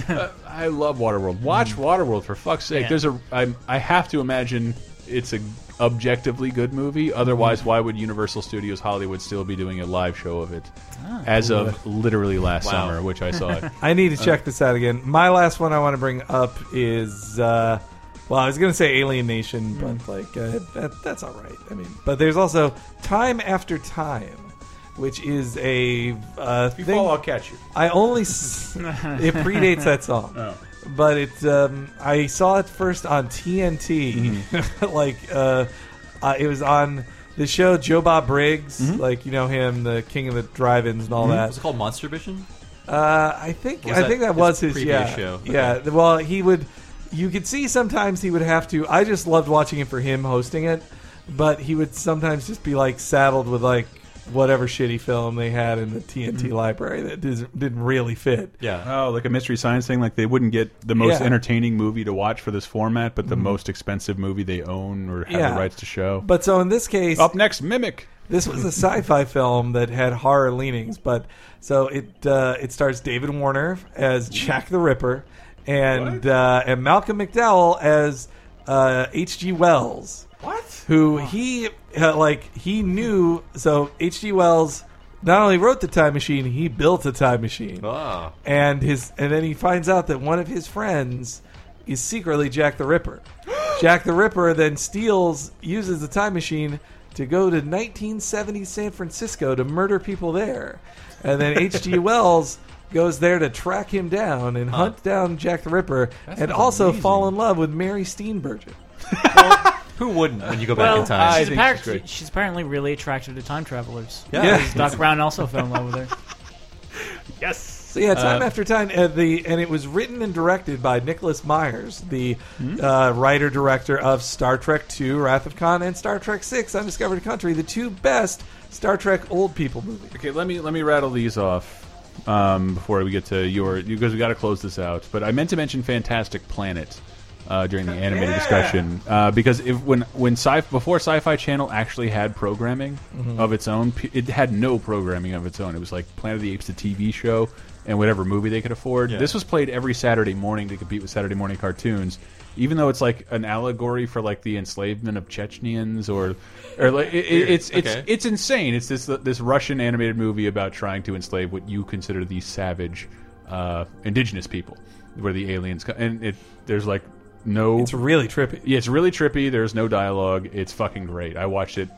Uh, I love Waterworld. Watch Mm. Waterworld for fuck's sake. Yeah. There's a I'm, I have to imagine it's a objectively good movie. Otherwise, Mm. why would Universal Studios Hollywood still be doing a live show of it? Ah. As of literally last summer, which I saw. it. I need to check this out again. My last one I want to bring up is, uh, well, I was going to say Alien Nation, but like uh, that, that's all right. I mean, but there's also Time After Time, which is a uh, thing. catch you. I only s- it predates that song, Oh. but it um, I saw it first on TNT. Mm-hmm. like uh, uh, it was on the show Joe Bob Briggs, Mm-hmm. like you know him, the king of the drive-ins and all that. Was it called Monster Vision? Uh, I think Or Mm-hmm. was I that think that his was his previous yeah, show? Yeah. Well, he would. You could see sometimes he would have to. I just loved watching it for him hosting it, but he would sometimes just be like saddled with like whatever shitty film they had in the TNT library that didn't, didn't really fit. Mm-hmm. Yeah. Oh, like a mystery science thing. Like they wouldn't get the most Yeah. entertaining movie to watch for this format, but the most expensive movie they own or have Yeah. the rights to show. But so in this case, Up next, Mimic. this was a sci-fi film that had horror leanings, but so it uh, it stars David Warner as Jack the Ripper and uh, and Malcolm McDowell as uh, H.G. Wells. What? Who he uh, like he knew so H.G. Wells not only wrote the time machine, he built a time machine Oh. and his and then he finds out that one of his friends is secretly Jack the Ripper. Jack the Ripper then steals uses the time machine to go to 1970s San Francisco to murder people there. And then H.G. Wells goes there to track him down and hunt down Jack the Ripper and also fall in love with Mary Steenburgen. Who wouldn't when you go back well, in time? think she's, she's apparently, great. she's, apparently really attractive to time travelers. yeah. Yeah. Doc Brown also fell in love with her. So yeah, time after time, uh, the and it was written and directed by Nicholas Myers, the Hmm? uh, writer director of Star Trek II: Wrath of Khan and Star Trek VI: Undiscovered Country, the two best Star Trek old people movies. Okay, let me let me rattle these off um, before we get to your you guys. We got to close this out, but I meant to mention Fantastic Planet uh, during the animated discussion uh, because if when when sci before Sci-Fi Channel actually had Mm-hmm. programming of its own, p- it had no programming of its own. It was like Planet of the Apes, the TV show, and whatever movie they could afford. Yeah. This was played every Saturday morning to compete with Saturday morning cartoons. Even though it's like an allegory for like the enslavement of Chechnyans, or, or like it, it- it's it's Okay. it's insane. It's this this Russian animated movie about trying to enslave what you consider the savage uh, indigenous people, where the aliens come. And it there's like no It's really trippy. yeah, it's really trippy. There's no dialogue. It's fucking great. I watched it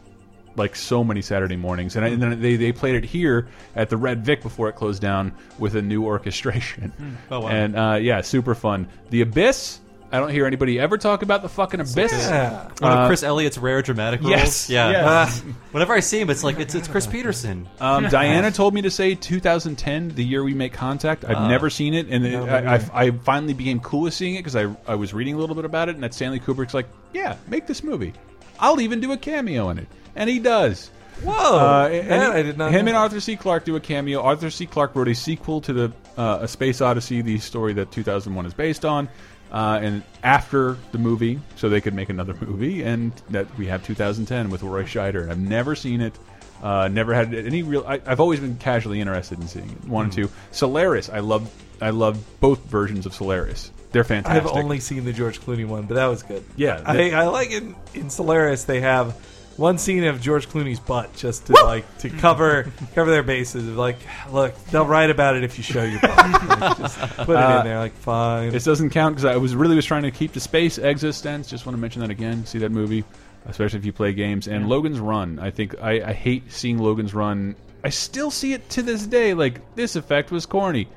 like so many Saturday mornings, and, I, and then they they played it here at the Red Vic before it closed down with a new orchestration. Oh, wow. And uh, yeah, super fun. The Abyss. I don't hear anybody ever talk about the fucking Abyss. Yeah. One of Chris Elliott's rare dramatic roles. Yes, yeah. yes. Whenever I see him, it's like it's it's Chris Peterson. Um, Diana told me to say 2010, the year we make contact. I've Ah. never seen it, and it- I, I, I finally became cool with seeing it because I, I was reading a little bit about it, and that Stanley Kubrick's like, yeah, make this movie. I'll even do a cameo in it, and he does. Whoa, Uh, and that he- I did not. Him know. and Arthur C. Clarke do a cameo. Arthur C. Clarke wrote a sequel to the uh, A Space Odyssey, the story that 2001 is based on, uh, and after the movie, so they could make another movie, and that we have 2010 with Roy Scheider. And I've never seen it. Uh, never had any real. I, I've always been casually interested in seeing it. Wanted Mm-hmm. to. Solaris. I love. I love both versions of Solaris. They're fantastic. I've only seen the George Clooney one, but that was good. Yeah, I, that- I like in in Solaris they have one scene of George Clooney's butt just to like to cover cover their bases. Like, look, they'll write about it if you show your butt. Like, just put it Uh, in there. Like, fine. This doesn't count because I was really was trying to keep the space existence. Just want to mention that again. See that movie, especially if you play games. And Logan's Run. I think I, I hate seeing Logan's Run. I still see it to this day. Like this effect was corny.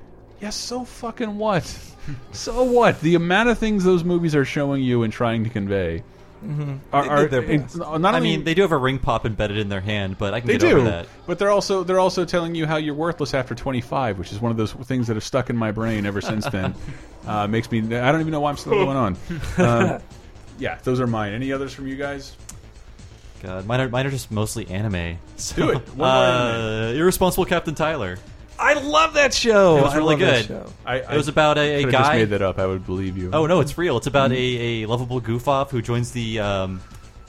Yes, so fucking what? so what? The amount of things those movies are showing you and trying to convey are, Mm-hmm. They are did their best. not I only mean, they do have a ring pop embedded in their hand, but I can they get over do, that. but they're also they're also telling you how you're worthless after 25, which is one of those things that have stuck in my brain ever since then. uh, makes me I don't even know why I'm still Oh. going on. Um, yeah, those are mine. Any others from you guys? God, mine are, mine are just mostly anime. So, Do it. One more uh, Irresponsible Captain Tyler. I love that show. It was Oh, I really love that good. show. I, It was about a, a I just guy. made that up. I would believe you. Oh no, it's real. It's about a, a lovable goof off who joins the um,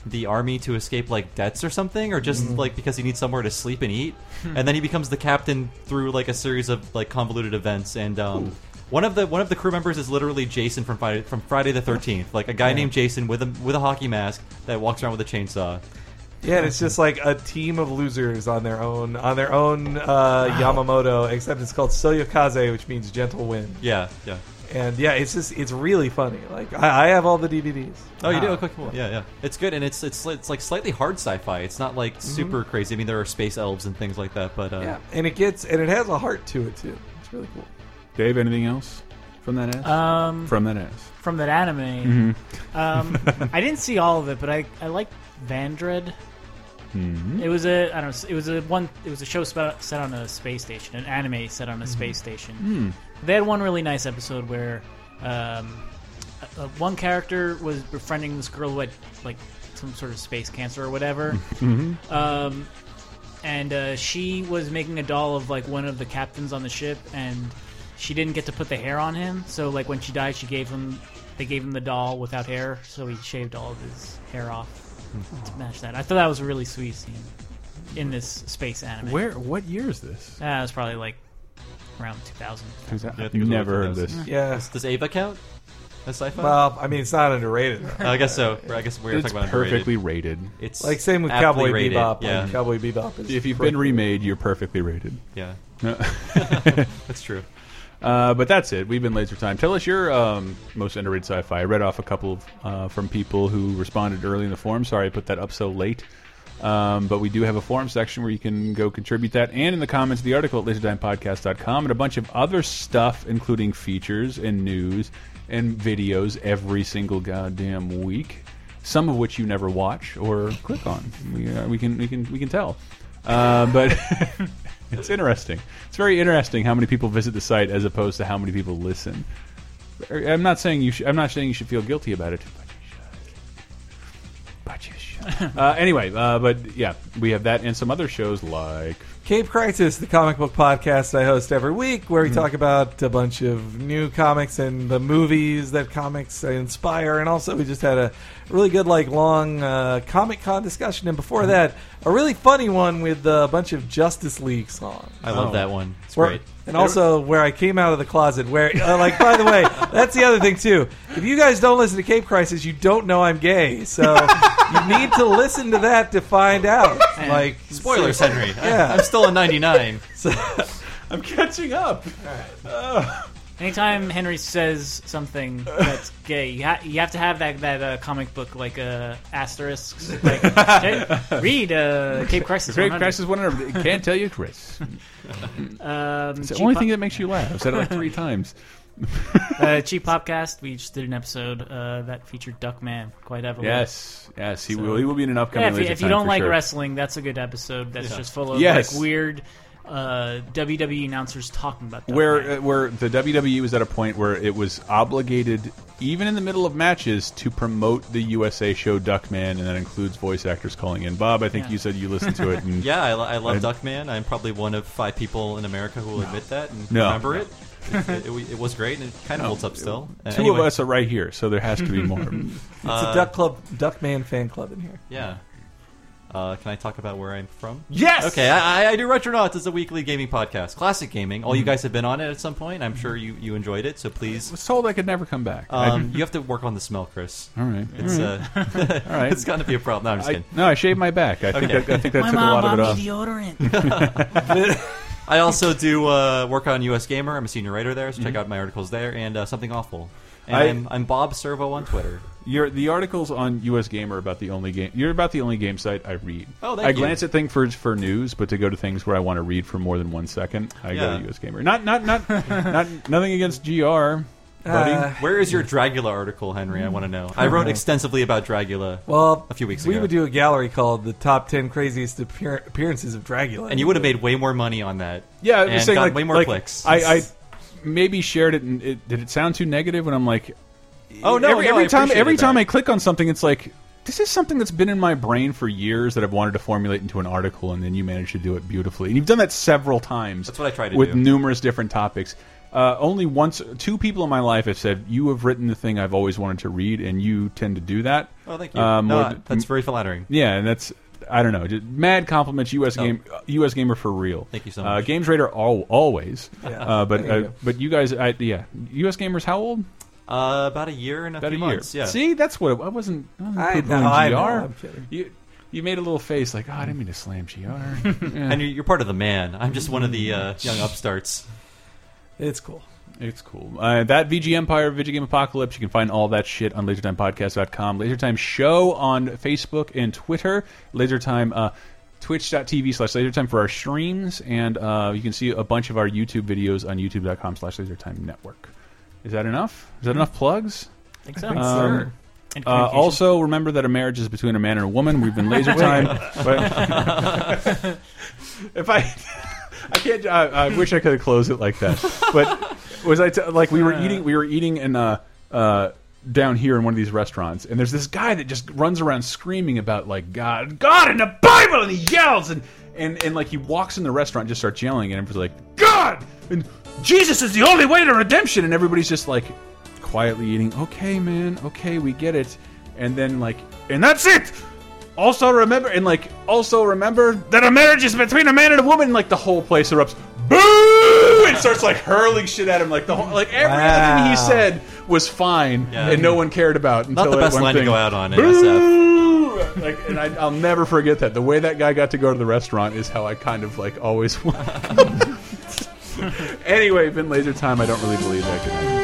the army to escape like debts or something, or just Mm. like because he needs somewhere to sleep and eat. Hmm. and then he becomes the captain through like a series of like convoluted events. And um, one of the one of the crew members is literally Jason from Friday from Friday the Thirteenth, like a guy named Jason with a with a hockey mask that walks around with a chainsaw. Yeah, and it's just like a team of losers on their own on their own uh, Yamamoto, except it's called Soyokaze, which means gentle wind. Yeah, yeah. And yeah, it's just it's really funny. Like I, I have all the DVDs. Oh, you do? Okay, cool. Yeah, yeah. It's good, and it's it's it's like slightly hard sci-fi. It's not like super crazy. I mean, there are space elves and things like that, but uh, Mm-hmm. Yeah, and it gets and it has a heart to it too. It's really cool. Dave, anything else from that ass? Um, from that ass. from that anime. Mm-hmm. Um, I didn't see all of it, but I I liked Vandred. Mm-hmm. It was a I don't know, it was a one it was a show spe- set on a space station, an anime set on a Mm-hmm. space station. They had one really nice episode where um, uh, one character was befriending this girl who had like some sort of space cancer or whatever. um, and uh, she was making a doll of like one of the captains on the ship, and she didn't get to put the hair on him. So like when she died, she gave him they gave him the doll without hair, so he shaved all of his hair off to match that. I thought that was a really sweet scene in this space anime. Where? What year is this? That was probably like around 2000. I think it was never heard early this. 2000s. Yeah. Does Ava count as sci-fi? Well, I mean, it's not underrated. though. Uh, I guess so. I guess we're It's talking about perfectly rated. underrated. It's Like same with aptly Cowboy rated, Bebop. Yeah, Like, Cowboy Bebop is. If you've great. been remade, you're perfectly rated. yeah, that's true. Uh, but that's it. We've been laser time. Tell us your um, most underrated sci-fi. I read off a couple of, uh, from people who responded early in the forum. Sorry I put that up so late. Um, but we do have a forum section where you can go contribute that and in the comments of the article at lasertimepodcast.com and a bunch of other stuff, including features and news and videos every single goddamn week. Some of which you never watch or click on. We, uh, we can we can we can tell. Uh, but It's interesting. It's very interesting how many people visit the site as opposed to how many people listen. Er, I'm not saying you. Should, I'm not saying you should feel guilty about it, but you should. But you should. uh, anyway, uh, but yeah, we have that and some other shows like Cape Crisis, the comic book podcast I host every week, where we Mm-hmm. talk about a bunch of new comics and the movies that comics Mm-hmm. inspire, and also we just had a really good, like, long uh, Comic Con discussion. And before that, a really funny one with uh, a bunch of Justice League songs. I love that one. It's Where- great. And also where I came out of the closet. Where, uh, like, by the way, that's the other thing too. If you guys don't listen to Cape Crisis, you don't know I'm gay. So you need to listen to that to find out. Like, Spoilers, Henry. Yeah. I, am still on 99. I'm catching up. Anytime Henry says something that's gay, you, ha- you have to have that that uh, comic book like uh, asterisks. Like, hey, read uh, Cape Crisis. Great 100. Crisis 100. Can't tell you, Chris. Um, It's the cheap only pop- thing that makes you laugh. I've said it like three times. uh, cheap popcast. We just did an episode uh, that featured Duckman quite heavily. Yes, yes, he will. He will be in an upcoming. Yeah, if, you, laser if you time don't for like sure. wrestling, that's a good episode. That's just full of Yes. like weird uh, WWE announcers talking about Duckman. where uh, where the WWE was at a point where it was obligated, even in the middle of matches, to promote the USA show Duckman, and that includes voice actors calling in. Bob, I think Yeah. you said you listened to it. And Yeah, I, lo- I love I- Duckman. I'm probably one of five people in America who will admit that and No. remember it. It, it- it was great, and it kind of holds up still. Uh, Two anyway, of us are right here, so there has to be more. it's Uh, a Duck Club, Duckman fan club in here. Yeah. Uh, can I talk about where I'm from? yes. Okay, I, I- I do Retronauts. It's a weekly gaming podcast, classic gaming. All you guys have been on it at some point. I'm sure you, you enjoyed it. So please, was told I could never come back. I- um, you have to work on the smell, Chris. all right. It's uh, All right. it's gonna be a problem. No, I'm just I, kidding. no, I shaved my back. I think Okay. that, uh, I think that my took a lot mom of it bought off. me deodorant. I also do uh, work on US Gamer. I'm a senior writer there, so check out my articles there and uh, something awful. And Mm-hmm. I- I, am I'm Bob Servo on Twitter. Your the articles on US Gamer are about the only game. You're about the only game site I read. Oh, thank I you. glance at things for for news, but to go to things where I want to read for more than one second, I go Yeah. to US Gamer. Not not not not nothing against GR, buddy. Uh, Where is your Dragula article, Henry? I want to know. I wrote extensively about Dragula. Well, A few weeks we ago. would do a gallery called the Top Ten Craziest Appear- Appearances of Dragula, and you would have made way more money on that. yeah, I was and saying gotten like, way more like, clicks. I, I maybe shared it, and it did it sound too negative when I'm like, oh no! every, no, every I time appreciated every time that. I click on something, it's like. This is something that's been in my brain for years that I've wanted to formulate into an article, and then you managed to do it beautifully. And you've done that several times. That's what I try to with do. numerous different topics. Uh, only once, two people in my life have said, "You have written the thing I've always wanted to read," and you tend to do that. Oh, thank you. Uh, more no, th- that's very flattering. yeah, and that's I don't know. Just mad compliments, U.S. Oh. game, uh, U.S. gamer for real. Thank you so Uh, much. Games Raider al always, uh, but There you uh, go. but you guys, I, yeah, U.S. gamers, how old? Uh, about a year and a About few a year. months. Yeah. See, that's what it, I wasn't. I wasn't I poo-pooing know, I know, GR. I'm kidding. You you made a little face like, "Oh, I didn't mean to slam GR." Yeah, And you're, you're part of the man. I'm just one of the uh, young Mm. upstarts. It's cool. It's cool. Uh, that VG Empire, VG Game Apocalypse, you can find all that shit on lasertimepodcast.com. Lasertime Show on Facebook and Twitter. Lasertime, uh, twitch.tv slash lasertime for our streams. And uh, you can see a bunch of our YouTube videos on youtube.com slash lasertime network. Is that enough? Is that enough plugs? think so. Um, And Uh, communication. also, remember that a marriage is between a man and a woman. We've been laser time. but if I, I can't. I, I wish I could have closed it like that. But was I t like we were eating? We were eating in uh, uh, down here in one of these restaurants, and there's this guy that just runs around screaming about like God, God, and the Bible, and he yells and and and like he walks in the restaurant, and just starts yelling, and everybody's like God and Jesus is the only way to redemption, and everybody's just like quietly eating. Okay, man. Okay, we get it. And then like, and that's it. Also remember, and like, also remember that a marriage is between a man and a woman. Like the whole place erupts. Boo! And starts like hurling shit at him. Like the whole, like everything he Wow. said was fine, Yeah. and no one cared about. Until Not the that best one line thing. to go out on in SF. Boo! Like, and I, I'll never forget that. The way that guy got to go to the restaurant is how I kind of like always. want. anyway, been laser time. I don't really believe that. Good night.